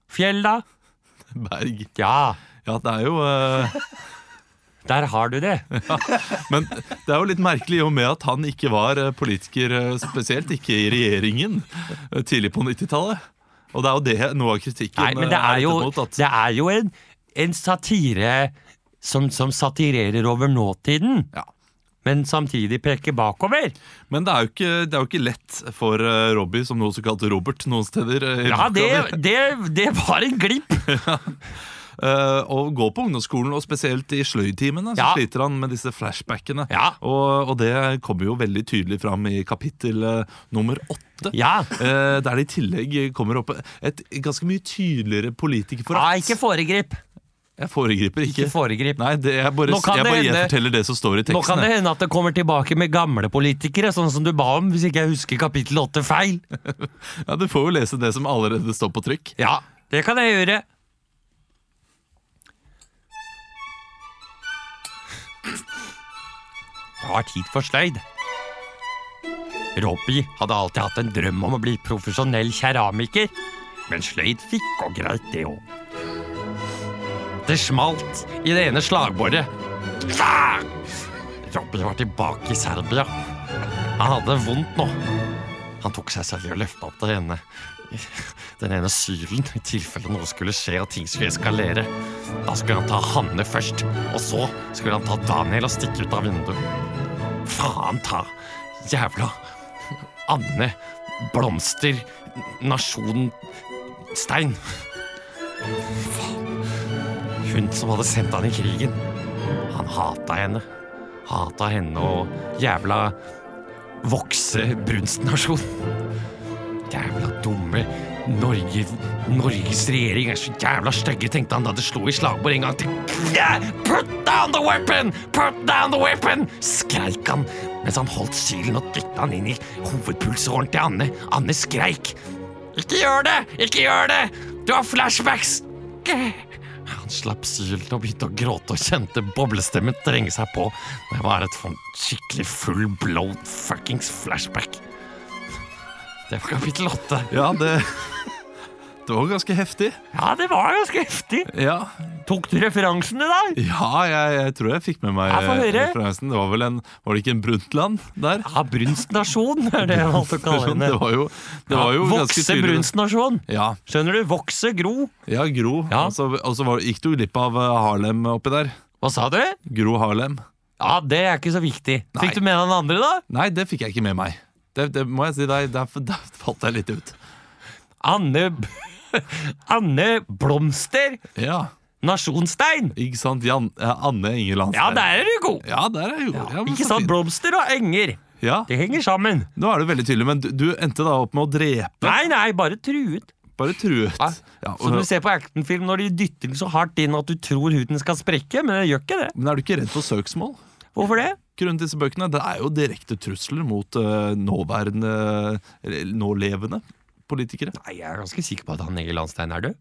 Fjell, da?
Berg.
Ja,
Ja, det er jo eh,
der har du det.
Men det er jo litt merkelig i og med at han ikke var eh, politiker, eh, spesielt ikke i regjeringen, eh, tidlig på 90-tallet. Og det er jo det noe av kritikken
Nei, men det
eh,
er jo,
rettet mot. At,
det er jo en, en satire som, som satirerer over nåtiden,
Ja.
men samtidig peker bakover.
Men det er, jo ikke, det er jo ikke lett for eh, Robbie, som noe så kalt Robert noen steder, eh, i
Ja,
boka
det,
di,
det, det var en glipp.
eh, å gå på ungdomsskolen, og spesielt i sløydtimene, så
Ja.
sliter han med disse flashbackene.
Ja.
Og, og det kommer jo veldig tydelig fram i kapittel eh, nummer åtte.
Ja.
Eh, der det i tillegg kommer opp et ganske mye tydeligere
Ja,
politikerforakt.
ikke foregrip.
Jeg foregriper ikke.
Ikke foregrip.
Nei, det, jeg bare,
Nå kan
jeg
det
bare
hende-
gjenforteller det som står i
Nå
teksten.
kan det
jeg.
hende at det kommer tilbake med gamle politikere, sånn som du ba om, hvis ikke jeg husker kapittel åtte feil.
Ja, du får jo lese det som allerede står på trykk.
Ja, det kan jeg gjøre. Det var tid for sløyd. Robbie hadde alltid hatt en drøm om å bli profesjonell keramiker, men sløyd fikk gå greit, det òg. Det smalt i det ene slagbordet. Ah! Robbie var tilbake i Serbia. Han hadde det vondt nå. Han tok seg selv i å løfte opp det ene den ene sylen i tilfelle noe skulle skje og ting skulle eskalere. Da skulle han ta Hanne først, og så skulle han ta Daniel og stikke ut av vinduet. Faen ta jævla Anne Blomster Nasjon Stein. Faen. Hun som hadde sendt han i krigen. Han hata henne. Hata henne og jævla vokse-brunstnasjon. Jævla dumme Norge, Norges regjering er så jævla stygge, tenkte han da det slo i slagbord en gang til. Ja, Put down the weapon! Put down the weapon! skreik han mens han holdt sylen og dytta han inn i hovedpulsåren til Anne. Anne skreik. Ikke gjør det! Ikke gjør det! Du har flashbacks! Han slapp sylen og begynte å gråte og kjente boblestemmen trenge seg på. Det var et sånn skikkelig full blown fuckings flashback. Det var kapittel åtte.
Ja, det Det var ganske heftig.
Ja, det var ganske heftig.
Ja,
Tok du referansen i dag?
ja jeg, jeg tror jeg fikk med meg
Jeg får
eh,
høre.
referansen. Det var vel en Var det ikke en Brundtland der?
Ja, brunstnasjon er det jeg valgte å kalle henne.
Det var jo, det var jo
Ja,
ganske
Vokse
tydelig.
brunstnasjon.
Ja,
Skjønner du? Vokse, gro.
ja Gro.
Ja.
Og så og så var- gikk du glipp av eh, Harlem oppi der.
Hva sa du?
Gro Harlem.
Ja, det er ikke så viktig.
Nei.
Fikk du med deg den andre, da?
Nei, det fikk jeg ikke med meg. Det, det må jeg si deg, der, der falt jeg litt ut.
Anne B- Anne Blomster
Ja,
Nasjonstein.
ikke sant? Jan, eh, Anne Ingeland.
Ja, der er du god.
Ja, der er jeg god. Ja, men
Ikke
så
sant?
fint.
Blomster og enger.
Ja,
Det henger sammen.
nå er det veldig tydelig, men du, du endte da opp med å drepe.
Nei, nei, bare truet.
Bare truet.
Ja.
Ja, og-
Som du ser på actionfilm når de dytter den så hardt inn at du tror huden skal sprekke, men det gjør ikke det.
men er du ikke redd for søksmål?
Hvorfor det?
Grunnen til disse bøkene, det er jo direkte trusler mot eh, nåværende, eller nålevende politikere.
Nei, jeg er ganske sikker på at han Egil Landstein er død.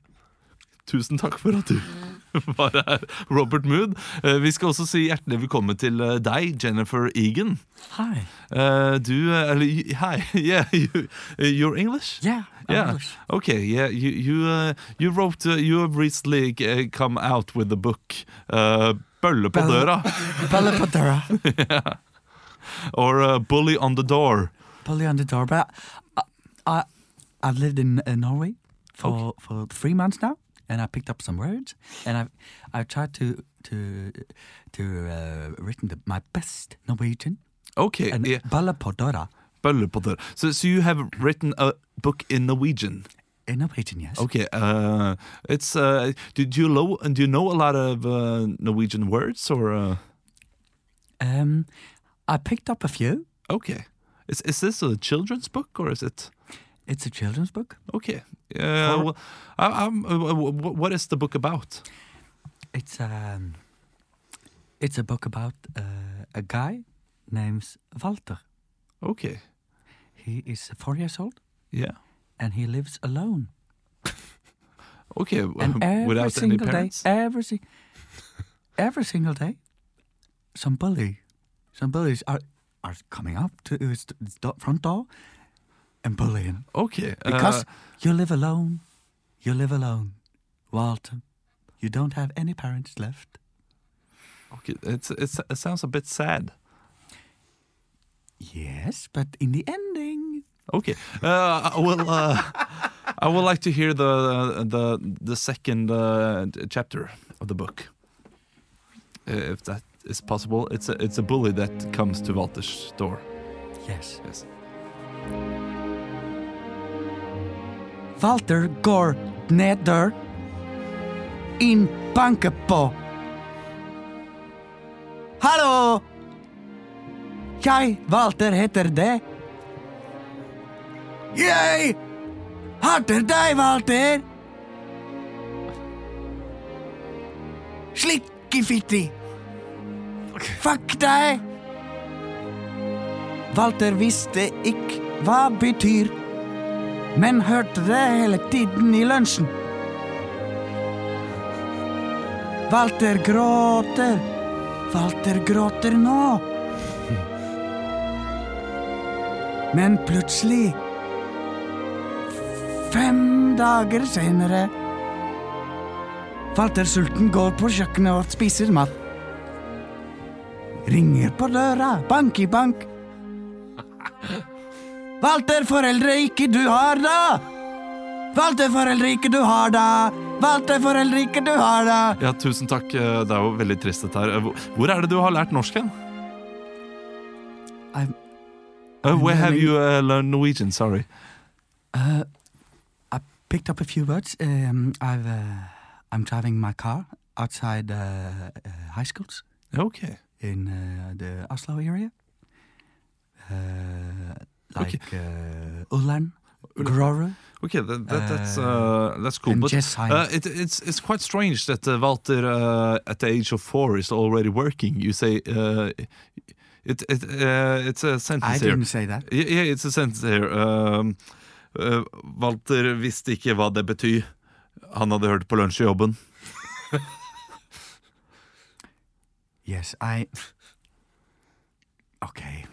Tusen takk for at du var her, Robert Mood. Eh, Vi skal også si hjertelig velkommen til eh, deg, Jennifer Egan.
Hi.
Eh, Du, eh, eller y- Hi. Yeah, you, eh, you're English?
Yeah. I'm
Yeah.
English.
Okay. Yeah. You you uh, you wrote. Uh, you have recently uh, come out with the book uh, "Bølle på
Bølle-
døra"
Bella Padera.
or uh, "Bully on the door."
Polly on the door. But I, I, I've lived in uh, Norway for for three months now, and I picked up some words, and I've I've tried to to to uh, written the, my best Norwegian.
Okay.
And
yeah.
Bella Podora
Bølle på døra. So so you have written a book in Norwegian.
in Norwegian, yes.
Okay. Uh, it's uh, do, do you know do you know a lot of uh, Norwegian words or? Uh,
Um, I picked up a few.
okay. Is is this a children's book or is it?
It's a children's book.
Okay. Uh, well, I, I'm, uh, w- w- what is the book about?
It's um, it's a book about uh, a guy named Walter.
Okay.
He is four years old
Yeah.
and he lives alone.
Okay, um,
And every
without any
single
parents.
day, every, si- every single day, some bully, some bullies are are coming up to his d- his do- front door and bullying
Okay,
because
uh,
you live alone. You live alone, Walter. You don't have any parents left.
okay, it's, it's, it sounds a bit sad.
Yes, but in the ending,
Okay, uh, I will. Uh, I would like to hear the the the second uh, chapter of the book, uh, if that is possible. It's a it's a bully that comes to Walter's door.
yes.
Yes.
Walter går neder in banken på. Hallo! Jeg, Walter, heter det. Jeg hater deg, Walter! Slikkefitti! Fuck deg! Walter visste ikke hva betyr men hørte det hele tiden i lunsjen. Walter gråter. Walter gråter nå. Men plutselig Fem dager senere Walter Sulten går på kjøkkenet og spiser mat. Ringer på døra, bank i bank. Walter, foreldre ikke du har, da! Walter, foreldre ikke du har, da! Walter, foreldre ikke du har, da!
Ja, tusen takk. Eh, Det er jo veldig trist dette her. Eh, hvor- Hvor er det du har lært norsk hen?
I'm-
Uh, where have you uh, learned Norwegian? Sorry.
I picked up a few words. Um, I've, uh, I'm driving my car outside uh, uh, high schools
Okay.
in uh, the Oslo area, uh, like uh, Ulan, Grorud.
Okay, that, that, that's uh, that's cool.
and
But
just science.
uh, it, it's it's quite strange that uh, Walter, uh, at the age of four, is already working. You say uh, it it uh, it's a sentence
I
here.
didn't say that.
Yeah, yeah, it's a sentence here. Um, uh, Walter visste ikke hva det betyr. Han hadde hørt på lunsj i jobben.
Yes, I. Okay,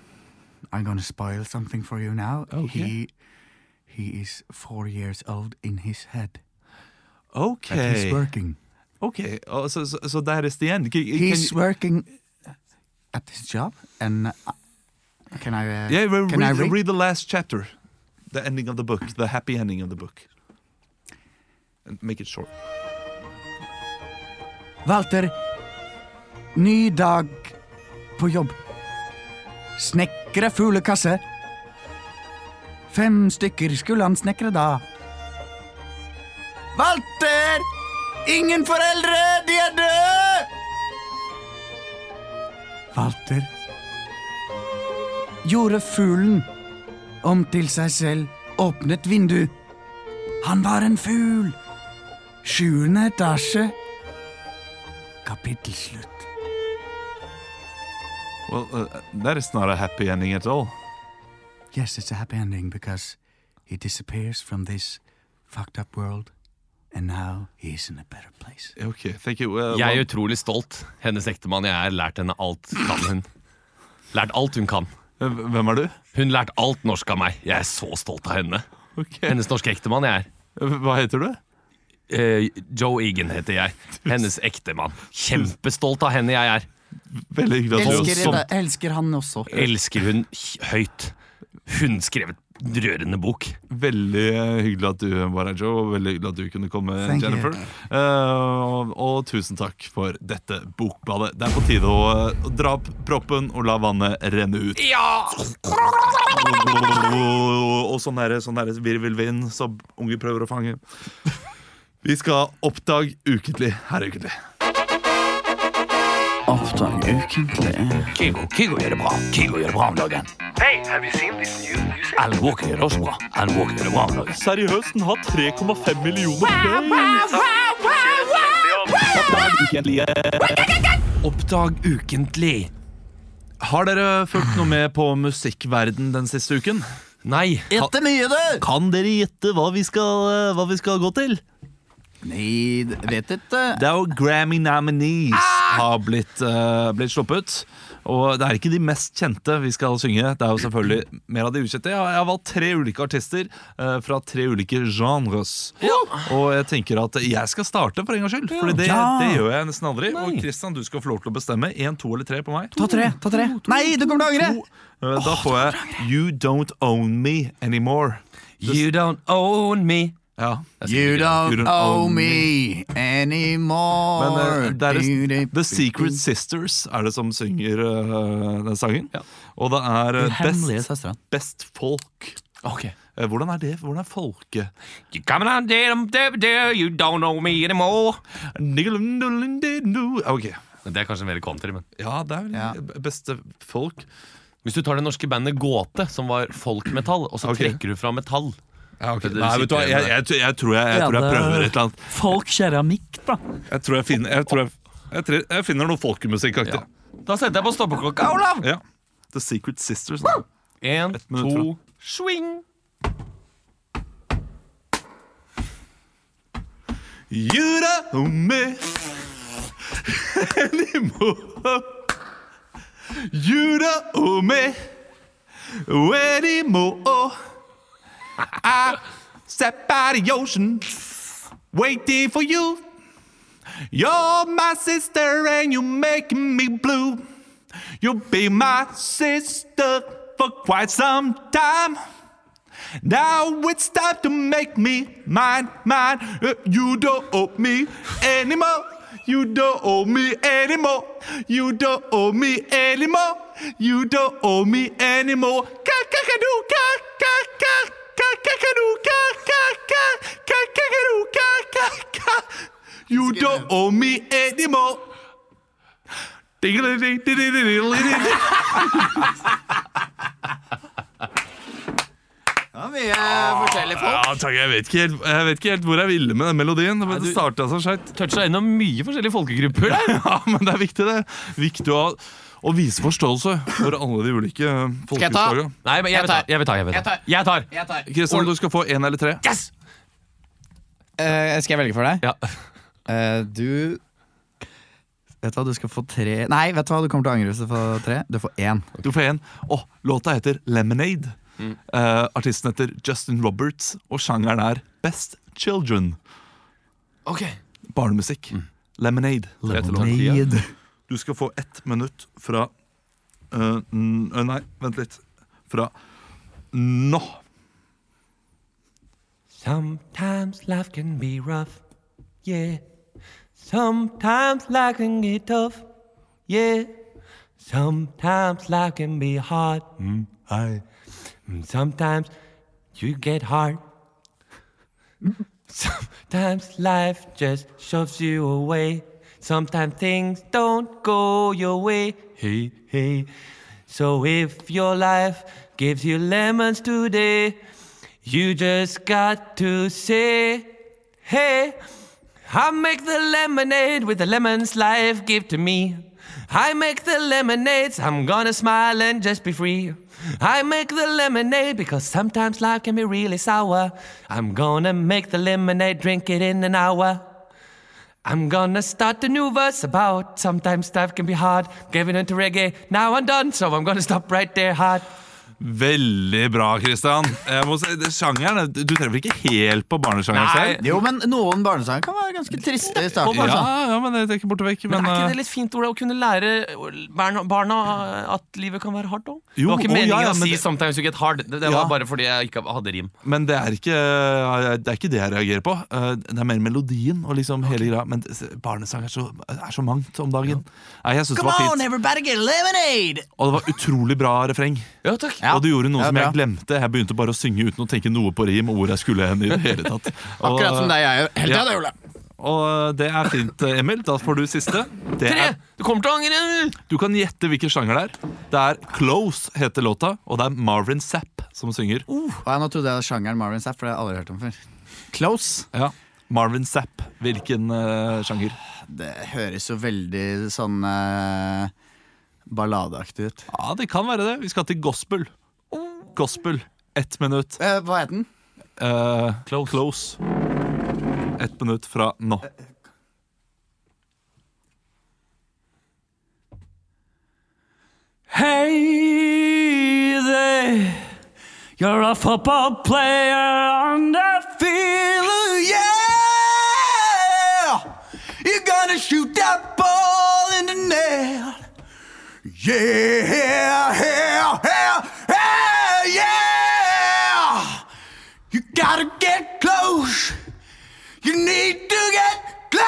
I'm gonna spoil something for you now.
Okay.
He, he is four years old in his head, but
Okay.
he's working.
Okay, oh, so, so, so that is the end. Can, can
He's
you-
working at his job, and uh, can I? Uh,
yeah, re-
can
read,
I read?
read the last chapter, the ending of the book, the happy ending of the book, and make it short.
Walter, ny dag på jobb. Snekre fuglekasse. Fem stykker skulle han snekre da. Walter! Ingen foreldre! De er døde! Walter gjorde fuglen om til seg selv, åpnet vindu. Han var en fugl. Sjuende etasje. Kapittelslutt.
Well, uh, that is not a happy ending at all.
Yes, it's a happy ending because he disappears from this fucked up world, and now he is in a better place.
Okay, thank you. Uh,
Jeg er
Wal-
utrolig stolt. Hennes ektemann. Jeg har lært henne alt kan hun. Lært alt hun kan.
Uh, hvem er du?
Hun lærte alt norsk av meg. Jeg er så stolt av henne.
Okay.
Hennes norske ektemann jeg er.
Uh, Hva heter du?
Eh, Joe Egan heter jeg. Hennes ektemann. Kjempestolt av henne jeg er.
Veldig hyggelig at du
Elsker
som,
deg.
elsker han også.
Elsker hun h- høyt. Hun skrev et rørende bok.
Veldig uh, hyggelig at du var her, Joe. og Veldig hyggelig at du kunne komme,
Thank you.
Jennifer. Uh, og, og tusen takk for dette bokbadet. Det er på tide å uh, dra opp proppen og la vannet renne ut.
Ja!
Og sånn er det, sånn er det virvelvind som unge prøver å fange. Vi skal oppdag ukentlig her er ukentlig.
Oppdag ukentlig.
Kygo, Kygo gjør det bra. Kygo gjør det bra om dagen. Alan Walker gjør det også bra. Alan Walker gjør det bra om dagen.
Seriøst, den har 3,5 millioner
Oppdag ukentlig.
Har dere fulgt noe med på musikkverden den siste uken?
Nei.
Gjette mye, du!
Kan dere gjette hva vi skal, eh, hva vi skal gå til?
Nei, d- vet ikke.
Det er jo Grammy nominees har blitt, eh, blitt sluppet. Og det er ikke de mest kjente vi skal synge. Det er jo selvfølgelig mer av de ukjente. Jeg har, jeg har valgt tre ulike artister eh, fra tre ulike genres. Og jeg tenker at jeg skal starte for en gangs skyld, Fordi det,
Ja.
det gjør jeg nesten aldri. Og Christian, du skal få lov til å bestemme. Én, to eller tre på meg.
Ta tre, ta tre. Nei, du kommer til å angre!
Eh, Da får jeg You Don't Own Me Anymore.
You don't own me.
Ja.
You
You
don't
don't
owe
own
me
Men
anymore.
eh, det er
Du-
The Secret Sisters er det som synger eh, den sangen. Og det er eh, best,
søsteren.
best folk.
Okay.
Eh, Hvordan er det? Hvordan er folke?
You coming out there, um, there, there, you don't own me anymore.
Ok,
Det er kanskje mer country, men
ja, det er vel
Ja.
b- beste folk.
Hvis du tar det norske bandet Gåte, som var folkmetall, og så
Ok.
trekker du fra metall
Ja, ok.
Det er det
Eh, Nei,
du
vet du hva,
sitter
jeg,
igjen med.
jeg, tror- jeg, tror jeg, jeg tror jeg
Ja, det-
prøver et eller annet.
Folk keramikk, da.
Jeg tror jeg finner, jeg tror jeg, jeg, tror jeg finner noe folkemusikkaktig.
Da setter jeg på stoppeklokka, Olav!
Ja. The Secret Sisters. da.
En,
Et minutt
to, swing!
You don't owe me anymore. You don't owe me Ready more. I sat by the ocean, waiting for you. You're my sister, and you're making me blue. You'll be my sister for quite some time. Now it's time to make me mine, mine. Uh, You don't owe me anymore. You don't owe me anymore. You don't owe me anymore. You don't owe me anymore. Ka-ka-ka-doo, ka-ka-ka, ka-ka-ka-doo, ka-ka-ka, ka-ka-ka-doo, ka-ka-ka. You don't owe me anymore. Ding-a-ding-ding-ding-ding-ding-ding.
Det var mye forskjellig på.
Ja, takk. Jeg vet, ikke helt, jeg vet ikke helt hvor jeg ville med den melodien. Men det startet så skjevt.
Toucha innom mye forskjellige folkegrupper. der.
Ja, men det er viktig, det. Viktig å, å vise forståelse for alle de ulike eh,
jeg ta?
folkeslagene.
Nei, men jeg vil ta. Jeg vil ta, jeg vil ta. Jeg tar.
Jeg tar.
Kristian, du skal få én eller tre.
Yes!
Eh, skal jeg velge for deg?
Ja.
Eh, du Vet du hva, du skal få tre Nei, vet du hva, du kommer til å angre hvis du får tre. Du får én.
Du får én. Å, låta heter Lemonade.
Mm.
Eh, artisten heter Justin Roberts, og sjangeren er Best Children.
Ok.
Barnemusikk.
Mm.
Lemonade. heter låta.
Lemonade.
Du skal få ett minutt fra eh, n- eh, Nei, vent litt. Fra nå.
Sometimes life can be rough, yeah. Sometimes life can get tough, yeah. Sometimes life can be hard, mm, aye. And Sometimes you get hard. Sometimes life just shoves you away. Sometimes things don't go your way, hey, hey. So if your life gives you lemons today, you just got to say, hey, I make the lemonade with the lemons life give to me. I make the lemonades, I'm gonna smile and just be free. I make the lemonade because sometimes life can be really sour. I'm gonna make the lemonade, drink it in an hour. I'm gonna start a new verse about sometimes stuff can be hard. Giving into reggae, now I'm done, so I'm gonna stop right there, hard.
Veldig bra, Kristian. Jeg må si, det- sjangeren, Du treffer ikke helt på barnesjangeren
Nei.
selv.
Jo, men noen barnesanger kan være ganske triste i starten.
Ja, ja, men det er ikke borte vekk. Men,
Men er ikke
eh,
det litt fint Ola, å kunne lære barna, barna at livet kan være hardt òg?
Det
jo,
var
å,
ikke meningen
ja, ja,
å
men
si
det-
'sometimes you get hard'. Det, det
Ja.
var bare fordi jeg ikke hadde rim.
Men det er, ikke, eh, det er ikke det jeg reagerer på. Eh, Det er mer melodien og liksom hele greia. Men det- barnesang er så, er så mangt om dagen. Nei, jeg synes det
Come
var
on,
fint.
everybody get lemonade!
Og det var utrolig bra refreng.
Ja, takk.
Ja.
Og du gjorde noe
det er
som jeg
bra.
glemte. Jeg begynte bare å synge uten å tenke noe på rim og hvor jeg skulle hen. i det hele tatt og,
Akkurat som deg, jeg gjør. Helt
Ja.
av deg, Ole.
Og eh, det er fint, Emil. Da får du siste. Det
Tre!
er,
Du kommer til å angre!
du kan gjette hvilken sjanger det er. Det er Close heter låta, og det er Marvin Zapp som synger.
Og jeg, nå trodde jeg sjangeren Marvin Zapp, for det har jeg aldri hørt om før. Close.
Ja. Marvin Zapp. Hvilken eh, sjanger?
Det høres jo veldig sånn eh, balladeaktig ut.
Ja, det kan være det. Vi skal til gospel. Gospel. Ett minutt.
Eh, hva het den?
Eh,
Close.
Ett minutt fra nå.
Hey there, you're a football player on the field, yeah. You're gonna shoot that ball in the net. Yeah, yeah, yeah, yeah, yeah. You gotta get close. You need to get close.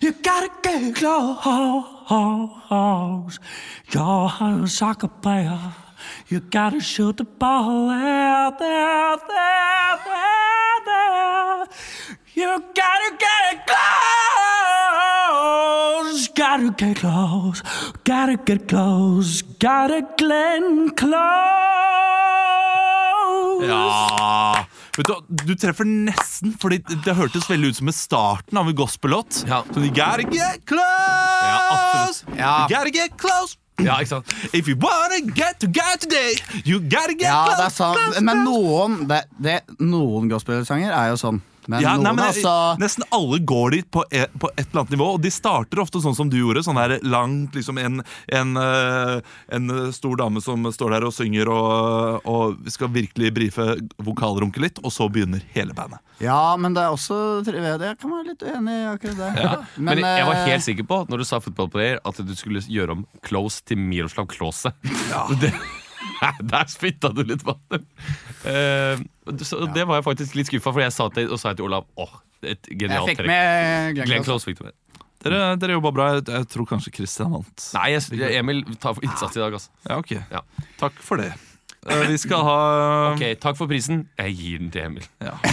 You gotta get close. You gotta get close. You're a soccer player. You gotta shoot the ball out there, there, there, there. You gotta get close. Gotta get close. Gotta get close. Gotta get close.
Ja Vet du, du treffer nesten, fordi det, det hørtes veldig ut som i starten av en gospellåt.
Ja.
Så you gotta get close!
Ja, absolutt.
You gotta get close!
Ja, ikke sant? If you wanna get to God today, you gotta get
Ja, det er
close,
sant.
close,
Men
close.
noen det, det, Noen gospelsanger er jo sånn. Men
Ja,
noen,
nei, men jeg,
altså
Nesten alle går dit på et, på et eller annet nivå, og de starter ofte sånn som du gjorde. Sånn her langt, liksom en, en, eh, en eh, stor dame som står der og synger og, og skal virkelig brife vokalrunket litt, og så begynner hele bandet.
Ja, men det er også Jeg kan være litt uenig i akkurat det.
Men, jeg var
eh,
helt sikker på når du sa fotballplayer, at du skulle gjøre om Close til Miroslav Klause. Det, der spytta du litt vann. Eh, så Det var jeg faktisk litt skuffa, for jeg sa til, og sa til Olav åh, et
jeg
genialt
fikk
trekk.
med Glenn
altså.
Glenn
Close.
Close fikk du med.
Dere, dere jobba bra. Jeg, jeg tror kanskje Christian vant.
Nei, jeg, Emil, ta for innsats i dag, altså.
Ja, ok.
Ja.
Takk for det. Eh, Vi skal ha
Ok, Takk for prisen. Jeg gir den til Emil.
ja. Det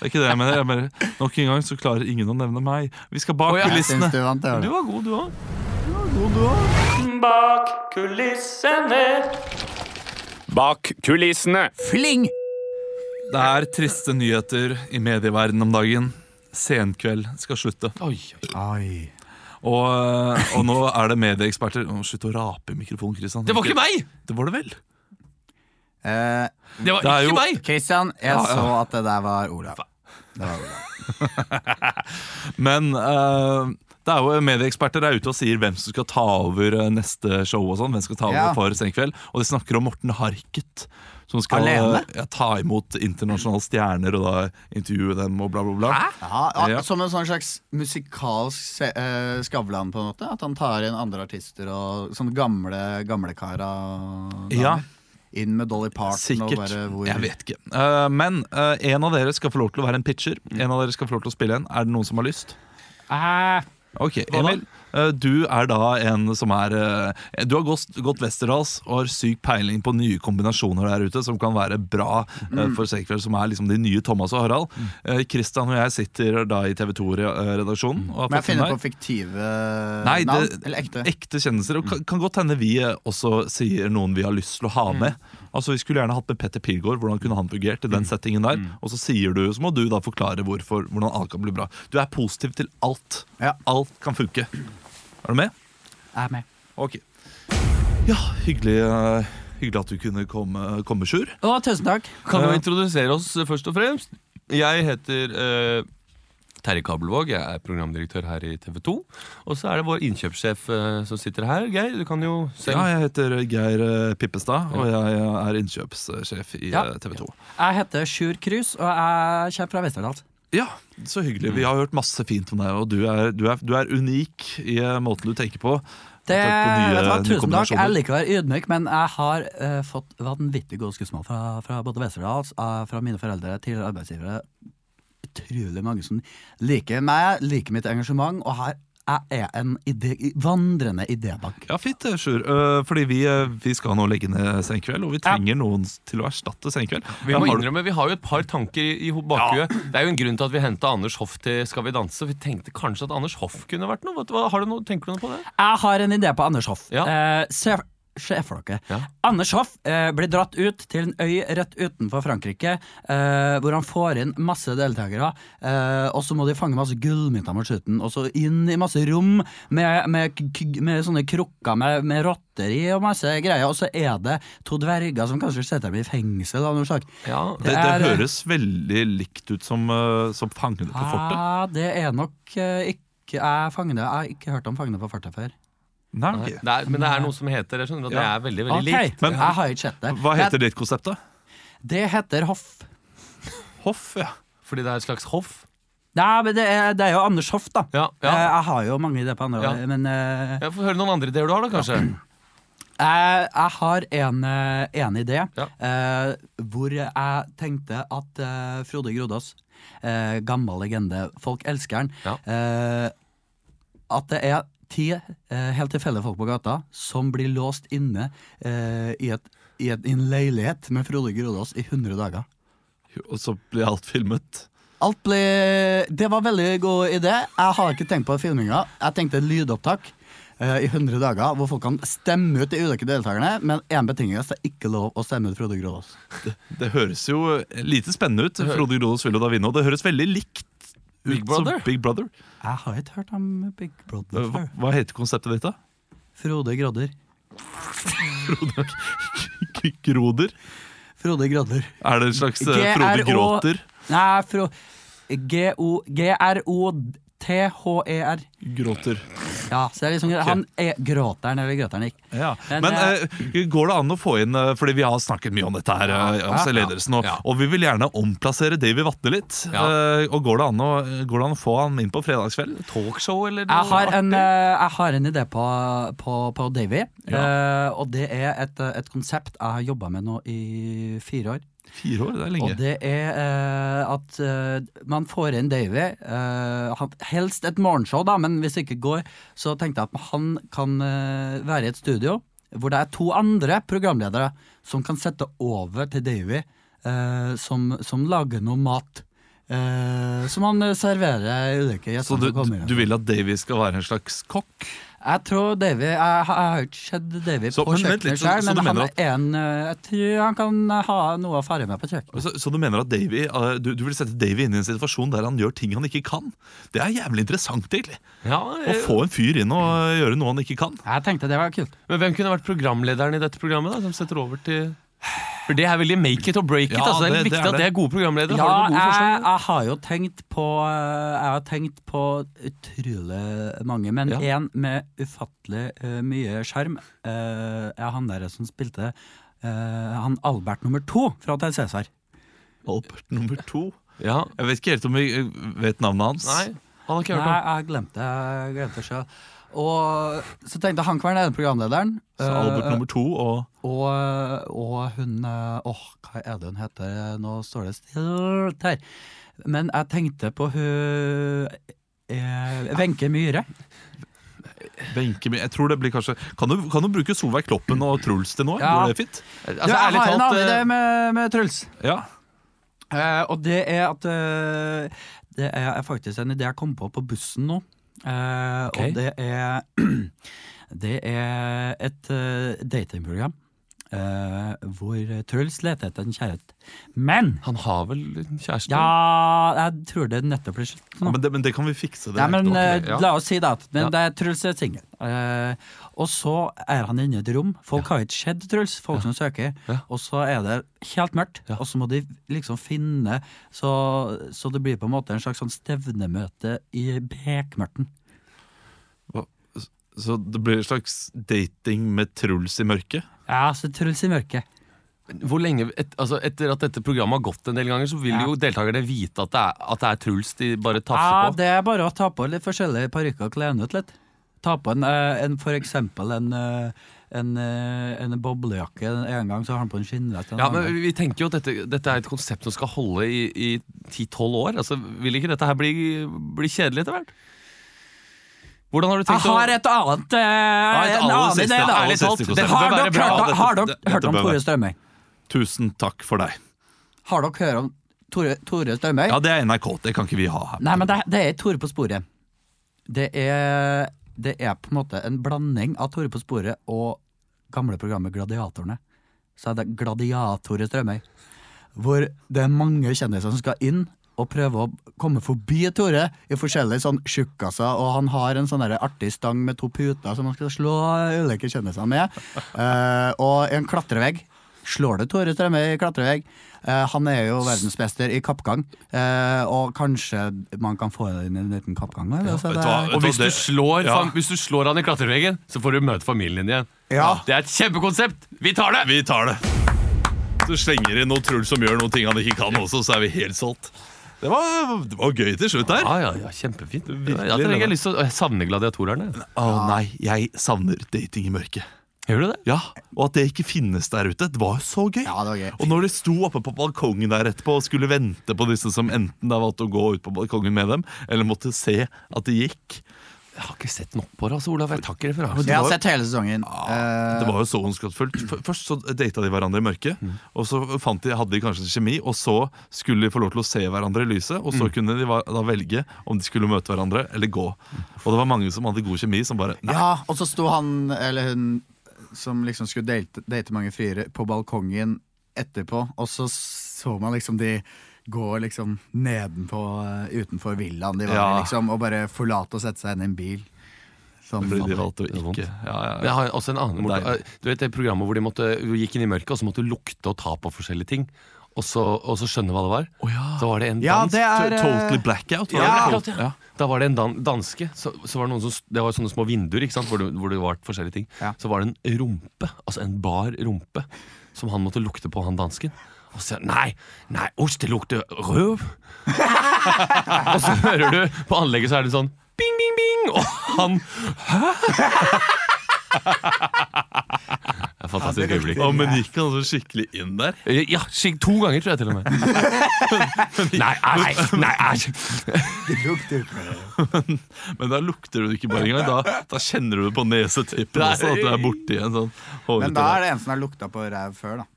er ikke det jeg mener. Jeg bare, nok en gang så klarer ingen å nevne meg. Vi skal bak
Å, ja.
Jeg syns
kulissene.
du vant, det var
Du
det.
var god, du òg.
Bak kulissene.
Bak kulissene.
Fling!
Det er triste nyheter i medieverdenen om dagen. Senkveld skal slutte.
Oi,
Oi.
Og, eh, og nå er det medieeksperter Å, Slutt å rape i mikrofonen, Kristian.
Det var ikke meg!
Det var det vel.
Eh,
Det var
Det er
ikke
jo-
meg!
Christian, jeg så at det der var Olav. Det var Olav.
Men eh, det er jo medieeksperter er ute og sier hvem som skal ta over eh, neste show. og sånn Hvem skal ta over
Ja.
for Senkveld Og de snakker om Morten Harket, som skal
Alene?
eh, ja, ta imot internasjonale stjerner og da intervjue dem og bla, bla, bla.
Jaha, ah,
Ja.
Som en sånn slags musikalsk se, eh, Skavlan, på en måte? At han tar inn andre artister og sånne gamle gamlekara? og damer.
Ja.
Inn med Dolly Parton og
Sikkert.
bare hvor
Jeg vet ikke. Eh, men eh, en av dere skal få lov til å være en pitcher.
Mm.
En av dere skal få lov til å spille en. Er det noen som har lyst? Ok, Emil. eh, du er da en som er eh, Du har gått, gått Westerdals og har syk peiling på nye kombinasjoner der ute som kan være bra eh,
Mm.
for Senkveld, som er liksom de nye Thomas og Harald. Kristian Christian og jeg sitter da i TV 2-redaksjonen.
Men jeg finner på fiktive
Eh,
Nei,
navn?
det-
Eller ekte?
ekte kjendiser. Og kan, kan godt hende vi eh, også sier noen vi har lyst til å
Mm.
ha med. Altså Vi skulle gjerne hatt med Petter Pilgaard. Hvordan kunne han fungert i
Mm.
den settingen der? Og så sier du, så må du da forklare hvorfor, hvordan alt kan bli bra. Du er positiv til alt.
Ja.
Alt kan funke. Er du med?
Jeg er med.
Ok. Ja, hyggelig, eh, hyggelig at du kunne komme, komme Sjur.
Å, tusen takk.
Kan
Ja.
vi introdusere oss eh, først og fremst? Jeg heter eh, Terje Kabelvåg, jeg er programdirektør her i TV 2. Og så er det vår innkjøpssjef eh, som sitter her. Geir, du kan jo selv
Ja, jeg heter Geir eh, Pippestad, og jeg er innkjøpssjef i eh,
Ja.
TV 2.
Jeg heter Sjur Krus, og jeg kommer fra Vesterdals.
Ja, så hyggelig. Vi har hørt masse fint om deg, og du er, du er, du er unik i eh, måten du tenker på.
Det,
Takk for nye-
vet du hva, tusen
nye
takk.
kombinasjoner.
Jeg liker å være ydmyk, men jeg har eh, fått vanvittig gode skussmål fra, fra både Vesterdals, eh, fra mine foreldre, tidligere arbeidsgivere. Utrolig mange som liker meg, liker mitt engasjement, og her jeg er en ide vandrende idébank.
Ja, fint, eh, Sjur. Eh, Fordi vi, eh, vi skal nå legge ned Senkveld, og vi trenger noen s- til å erstatte Senkveld.
Vi
Ja,
må
har du-
innrømme, vi har jo et par tanker i, i ho- bakhuet. Det er jo en grunn til at vi henta Anders Hoff til Skal vi danse. Vi tenkte kanskje at Anders Hoff kunne vært noe. Vet du Hva, har du noe tenker du noe på det?
Jeg har en idé på Anders Hoff.
Ja.
Eh, se, se for dere.
Ja.
Anders Hoff eh, blir dratt ut til en øy rett utenfor Frankrike, eh, hvor han får inn masse deltakere. Eh, og så må de fange masse gullmynter mot slutten, og så inn i masse rom med, med, k- k- med sånne krukker med, med rotter i og masse greier. Og så er det to dverger som kanskje setter dem i fengsel av noe slag.
Ja,
Det, det
er-
høres veldig likt ut som, eh, som Fangene på fortet.
Ah, det er nok eh, ikke jeg, fangene, jeg har ikke hørt om Fangene på fortet før.
Nei,
Nei,
ok.
det er, men det er noe som heter det. Skjønner, du, at det
Ja.
er veldig, veldig
Ok,
likt.
Men-
jeg har ikke sett det.
Hva heter ditt konsept, da?
Det heter Hoff.
Hoff, ja.
Fordi det er et slags hoff.
Nei, men det er, det er jo Anders Hoff, da.
Ja, ja.
Eh, Jeg har jo mange ideer på andre,
Ja.
men eh,
Jeg får høre noen andre ideer du har, da, kanskje.
jeg, jeg har en, eh, en idé
Ja.
eh, hvor jeg tenkte at eh, Frode Grodås, eh, gammel legende, folk elsker han,
Ja.
eh, at det er ti eh, helt tilfeldige folk på gata som blir låst inne eh, i, et, i, et, i en leilighet med Frode Grodås i 100 dager.
Og så blir alt filmet.
Alt ble Det var veldig god idé. Jeg har ikke tenkt på filminga. Jeg tenkte lydopptak eh, i 100 dager hvor folk kan stemme ut de ulike deltakerne. Men én betingelse det er ikke lov å stemme ut Frode Grådås.
Det høres jo lite spennende ut. Frode Grodås vil jo da vinne, og det høres veldig likt ut
Big Brother.
som Big Brother.
Jeg har ikke hørt om Big Brother
Eh, Hva, hva heter konseptet ditt, da?
Frode Grodder.
Groder?
Frode Grodder.
Er det en slags eh,
G-R-O-
Frode Gråter?
Nei, Fro... G-O- G-R-O-T-H-E-R.
Gråter.
Ja, så det er liksom Han er gråteren eller gråteren ikke.
Ja.
Men,
Men, eh, går det an å få inn eh, Fordi vi har snakket mye om dette her, eh, altså, ledelsen, og,
ja.
og vi vil gjerne omplassere Davy Vatte litt.
Ja.
Eh, og går det, an å, går det an å få han inn på fredagskvelden?
Talkshow, eller
Jeg har
artig?
en, eh, jeg har en idé på, på, på Davy. eh, og det er et, eh, et konsept jeg har jobba med nå i fire år.
Fire år, det er
Og
lenge.
det er eh, at eh, man får inn Davy. eh, han- helst et morgenshow, da, men hvis det ikke går, så tenkte jeg at han kan eh, være i et studio hvor det er to andre programledere som kan sette over til Davy, eh, som, som lager noe mat. eh, som han eh, serverer ulike gjester
Så du,
som kommer inn.
du vil at Davy skal være en slags kokk?
Jeg tror Davy Jeg, jeg har jo ikke sett Davy
Så-
på
men vent litt,
kjøkkenet
så-
selv,
så
men
du
han
mener
er en eh, Jeg tror han kan ha noe å fare med på kjøkkenet.
Altså, Så, så du mener at Davy, eh, du, du vil sette Davy inn i en situasjon der han gjør ting han ikke kan? Det er jævlig interessant, egentlig.
Ja,
Eh,
Å få en fyr inn og eh, gjøre noe han ikke kan.
Jeg tenkte det var kult.
Men hvem kunne vært programlederen i dette programmet? da, Som setter over til For det er veldig make it or break it.
Ja,
altså, det er
det- det
viktig
er
at det er gode programledere.
Ja, eh,
har dere gode
jeg,
forslag?
jeg har jo tenkt på eh, Jeg har tenkt på utrolig mange, men
Ja.
én med ufattelig eh, mye sjarm. Eh, er han der som spilte eh, han Albert nummer to fra Til Cæsar.
Albert nummer to.
Ja.
Jeg vet ikke helt om vi eh, vet navnet hans.
Nei, han har ikke
Nei,
hørt om.
jeg glemte jeg glemte det sjøl. Og så tenkte jeg han kan være den ene programlederen.
Så Albert
Eh,
nummer to og
Og, og hun eh, Åh, hva er det hun heter? Nå står det stilt her. Men jeg tenkte på hun eh, Wenche Myhre.
Benke Jeg tror det blir kanskje Kan du, kan du bruke Solveig Kloppen og Truls til noe?
Ja.
Går det fint?
Altså,
Du, jeg
ærlig
har en
talt,
annen idé
eh,
med, med Truls.
Ja.
Eh, og det er at eh, Det er faktisk en idé jeg kom på på bussen nå. Eh,
Ok.
Og det er Det er et eh, datingprogram eh, hvor Truls leter etter en kjæreste. Men
Han har vel en kjæreste?
Ja, jeg tror det nettopp ble slutt nå.
Men, det, men det kan vi fikse. Det
Nei, men
er
eh,
ikke noe problem.
La oss si det. at- Men
Ja.
det er Truls er singel. Eh, og så er han inne i et rom. Folk har ikke sett Truls, folk som søker.
Ja.
Og så er det helt mørkt,
Ja.
og så må de liksom finne Så, så det blir på en måte en slags sånn stevnemøte i bekmørten.
Så det blir en slags dating med Truls i mørket?
Ja, så Altså, Truls i mørket.
Hvor lenge, et, altså, etter at dette programmet har gått en del ganger, så vil
Ja.
jo deltakerne vite at det, er, at det er Truls de bare
Ja,
tafser på.
det er bare å ta på litt forskjellige parykker og kle den ut litt. Ta på en, eh, en for eksempel en, eh, en, eh, en boblejakke. En gang så har han på en skinnvest. en
Ja,
annen
men
gang.
vi- Vi tenker jo at dette, dette er et konsept som skal holde i, i 10-12 år. Altså, Vil ikke dette her bli, bli kjedelig etter hvert? Hvordan har du
Jeg
tenkt
har et annet eh,
et
en
aller
annen
siste,
idé, da.
aller siste konsept.
Det
Har
bør være
dere
bra.
hørt om-
Dette-
har dere
dette
hørt om
bør være.
Tore Strømøy?
Tusen takk for deg.
Har dere hørt om Tore, Tore Strømøy?
Ja, det er NRK. Det kan ikke vi ha her.
Nei, men det, det er Tore på sporet. Det er, det er på en måte en blanding av Tore på sporet og gamle programmet Gladiatorene. Så er det Gladiatore Strømøy. Hvor det er mange kjendiser som skal inn og prøve å komme forbi Tore i forskjellige sånn tjukkaser. Og han har en sånn der artig stang med to puter som han skal slå ulike kjendiser med. Eh, og en klatrevegg. Slår det Tore Strømøy i klatrevegg? Eh, han er jo verdensmester i kappgang. eh, og kanskje man kan få inn en liten kappgang? eller? Så
vet
det
du hva?
er-
Og hvis du,
Det-
slår,
Ja.
fam- hvis du slår han i klatreveggen, så får du møte familien igjen.
Ja.
Det er et kjempekonsept! Vi tar det!
Vi tar det. Så slenger inn noe Truls som gjør noen ting han ikke kan også, så er vi helt solgt. Det var, det var gøy til slutt her.
Ja, ja, ja, kjempefint.
Virkelig,
jeg,
det
jeg,
der.
lyst til å, jeg savner gladiatorerne.
Å nei, jeg savner dating i mørket.
Gjør du det?
Ja, Og at det ikke finnes der ute. Det var jo så gøy.
Ja, det var gøy.
Og når de sto oppe på balkongen der etterpå og skulle vente på disse som enten da valgte å gå ut på balkongen med dem, eller måtte se at det gikk
Jeg har ikke sett nok på det, altså, Olav. Jeg tar ikke referansen.
Jeg har sett hele sesongen.
Ah.
Eh,
Det var jo så ondskapsfullt. F- Først så data de hverandre i mørket, og så fant de, hadde de kanskje kjemi, og så skulle de få lov til å se hverandre i lyset, og så kunne de va- da velge om de skulle møte hverandre eller gå. Og det var mange som hadde god kjemi, som bare Nei,
Ja, og så sto han, eller hun, som liksom skulle date, date mange friere, på balkongen etterpå, og så så man liksom de gå liksom nedenpå, eh, utenfor villaen de var i,
Ja.
liksom, og bare forlate og sette seg inn i en bil. Sånn,
Fordi de
sånn.
valgte å
Det er vondt.
ikke ja, ja,
Men
ja.
Jeg har også en annen mor-
Deilig.
Du vet det programmet hvor de måtte, du gikk inn i mørket og så måtte du lukte og ta på forskjellige ting? Og så, og så skjønne hva det var? Så var det en
Ja,
dans
det
To-
er eh,
Totally blackout? var det
ja.
det?
Ja. Da var det en dan danske så, så var det, noen som, s- det var sånne små vinduer ikke sant? Hvor, det, hvor det var forskjellige ting
Ja.
Så var det en rumpe, altså en bar rumpe Som han måtte lukte på, han dansken Og så sier han, nei, nei, ost det lukter røv Og så hører du på anlegget så er det sånn Bing, bing, bing Og han, hæ? Det er et fantastisk øyeblikk
Å, men gikk han så skikkelig inn der?
ja, skikk to ganger, tror jeg til og med. nei, nei, nei, æsj!
Men da lukter du det ikke bare engang. Da, da kjenner du det på nesetippen også, at du er borti en sånn hårete
Men da er det sånn, eh, en som har lukta på ræv før, da.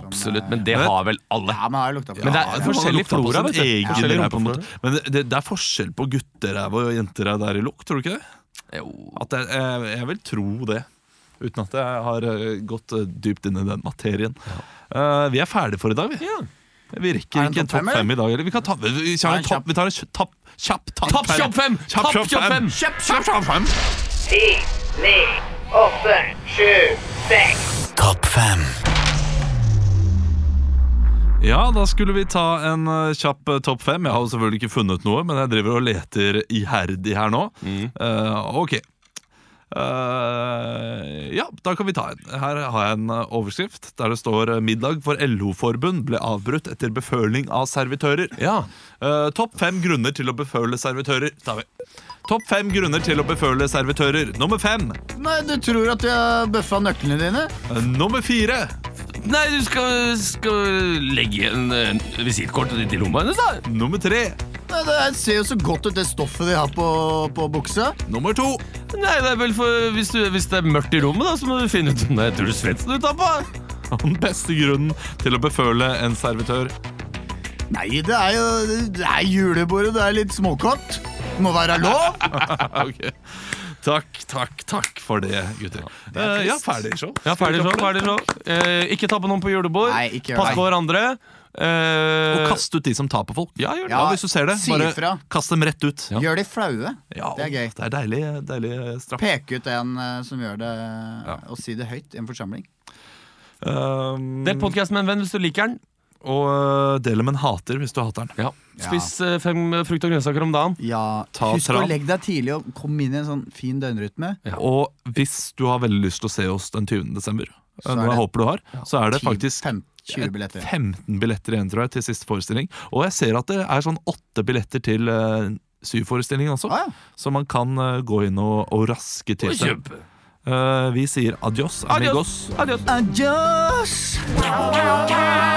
Absolutt, men det har vel alle.
Ja, men har lukta på
Men det
ræv,
er
ja.
forskjellig
lukta på
flora,
sin
vet du.
egen
Forskjellig
ræv, på en
rumpeflora.
måte. Men det, det, det er forskjell på gutteræv og jenteræv der i lukt, tror du ikke det? At det, er- jeg, jeg vil tro det. Uten at jeg har eh, gått eh, dypt inn i den materien. Eh, vi er ferdige for i dag, vi. Vi
Er
rekker
det
ikke
en
en
topp
topp
fem,
fem i dag. Eller vi, kan ta, vi, vi, tar en
en
topp- vi tar en kjapp tapp, kjapp tapp
Tapp,
fem.
kjapp fem! Tapp, kjapp fem!
Kjapp, kjapp, kjapp fem!
ti, ni, åtte, sju, seks.
Ja, da skulle vi ta en eh, kjapp eh, topp fem. Jeg har jo selvfølgelig ikke funnet noe, men jeg driver og leter iherdig her nå. Eh, ok. Eh, ja, da kan vi ta en. Her har jeg en eh, overskrift der det står eh, 'Middag for LO-forbund ble avbrutt etter beføling av servitører'.
Ja.
Eh, topp fem grunner til å beføle servitører. Tar vi. Topp fem grunner til å beføle servitører. Nummer fem.
Nei, du tror at de har bøffa nøklene dine?
Eh, nummer fire.
Nei, du skal, skal legge en, en visittkort ditt i lomma hennes, da.
Nummer tre.
Nei, det ser jo så godt ut, det stoffet de har på, på buksa.
Nummer to.
Nei, det er vel for hvis, du, hvis det er mørkt i rommet, da, så må du finne ut om det er Truls Svendsen du tar på.
Og den beste grunnen til å beføle en servitør.
Nei, det er jo det er julebordet, det er litt småkått. Det må være lov.
Ok. Takk, takk, takk for det, gutter. Ja, ja ferdig show.
Ja, ferdig show. ferdig show. Eh, ikke ta på noen på julebord.
Nei, ikke gjør
Pass
det.
på hverandre. Eh,
Og kast ut de som tar på folk. Ja, gjør det.
Ja,
hvis du ser det,
si
bare
ifra.
kast dem rett ut.
Gjør de flaue.
Ja,
Det er gøy.
Det er deilig, deilig straff.
Peke ut en eh, som gjør det, og si det høyt i en forsamling.
Um,
Del podkast med en venn hvis du liker den.
og uh, del med en hater hvis du hater den.
Ja. Spis eh, fem frukt og grønnsaker om dagen.
Ja,
Ta
Husk
tran.
å legge deg tidlig og komme inn i en sånn fin døgnrytme.
Ja.
Og hvis du har veldig lyst til å se oss den 20. desember,
Så er
noe jeg
det-
håper du har, så er det
10,
faktisk
15, 20 billetter.
15 billetter igjen, tror jeg, til siste forestilling. Og jeg ser at det er sånn åtte billetter til uh, syvforestillingen også,
Ah, ja.
så man kan uh, gå inn og, og raske til seg. Eh, vi sier adios, amigos.
Adios.
Adios!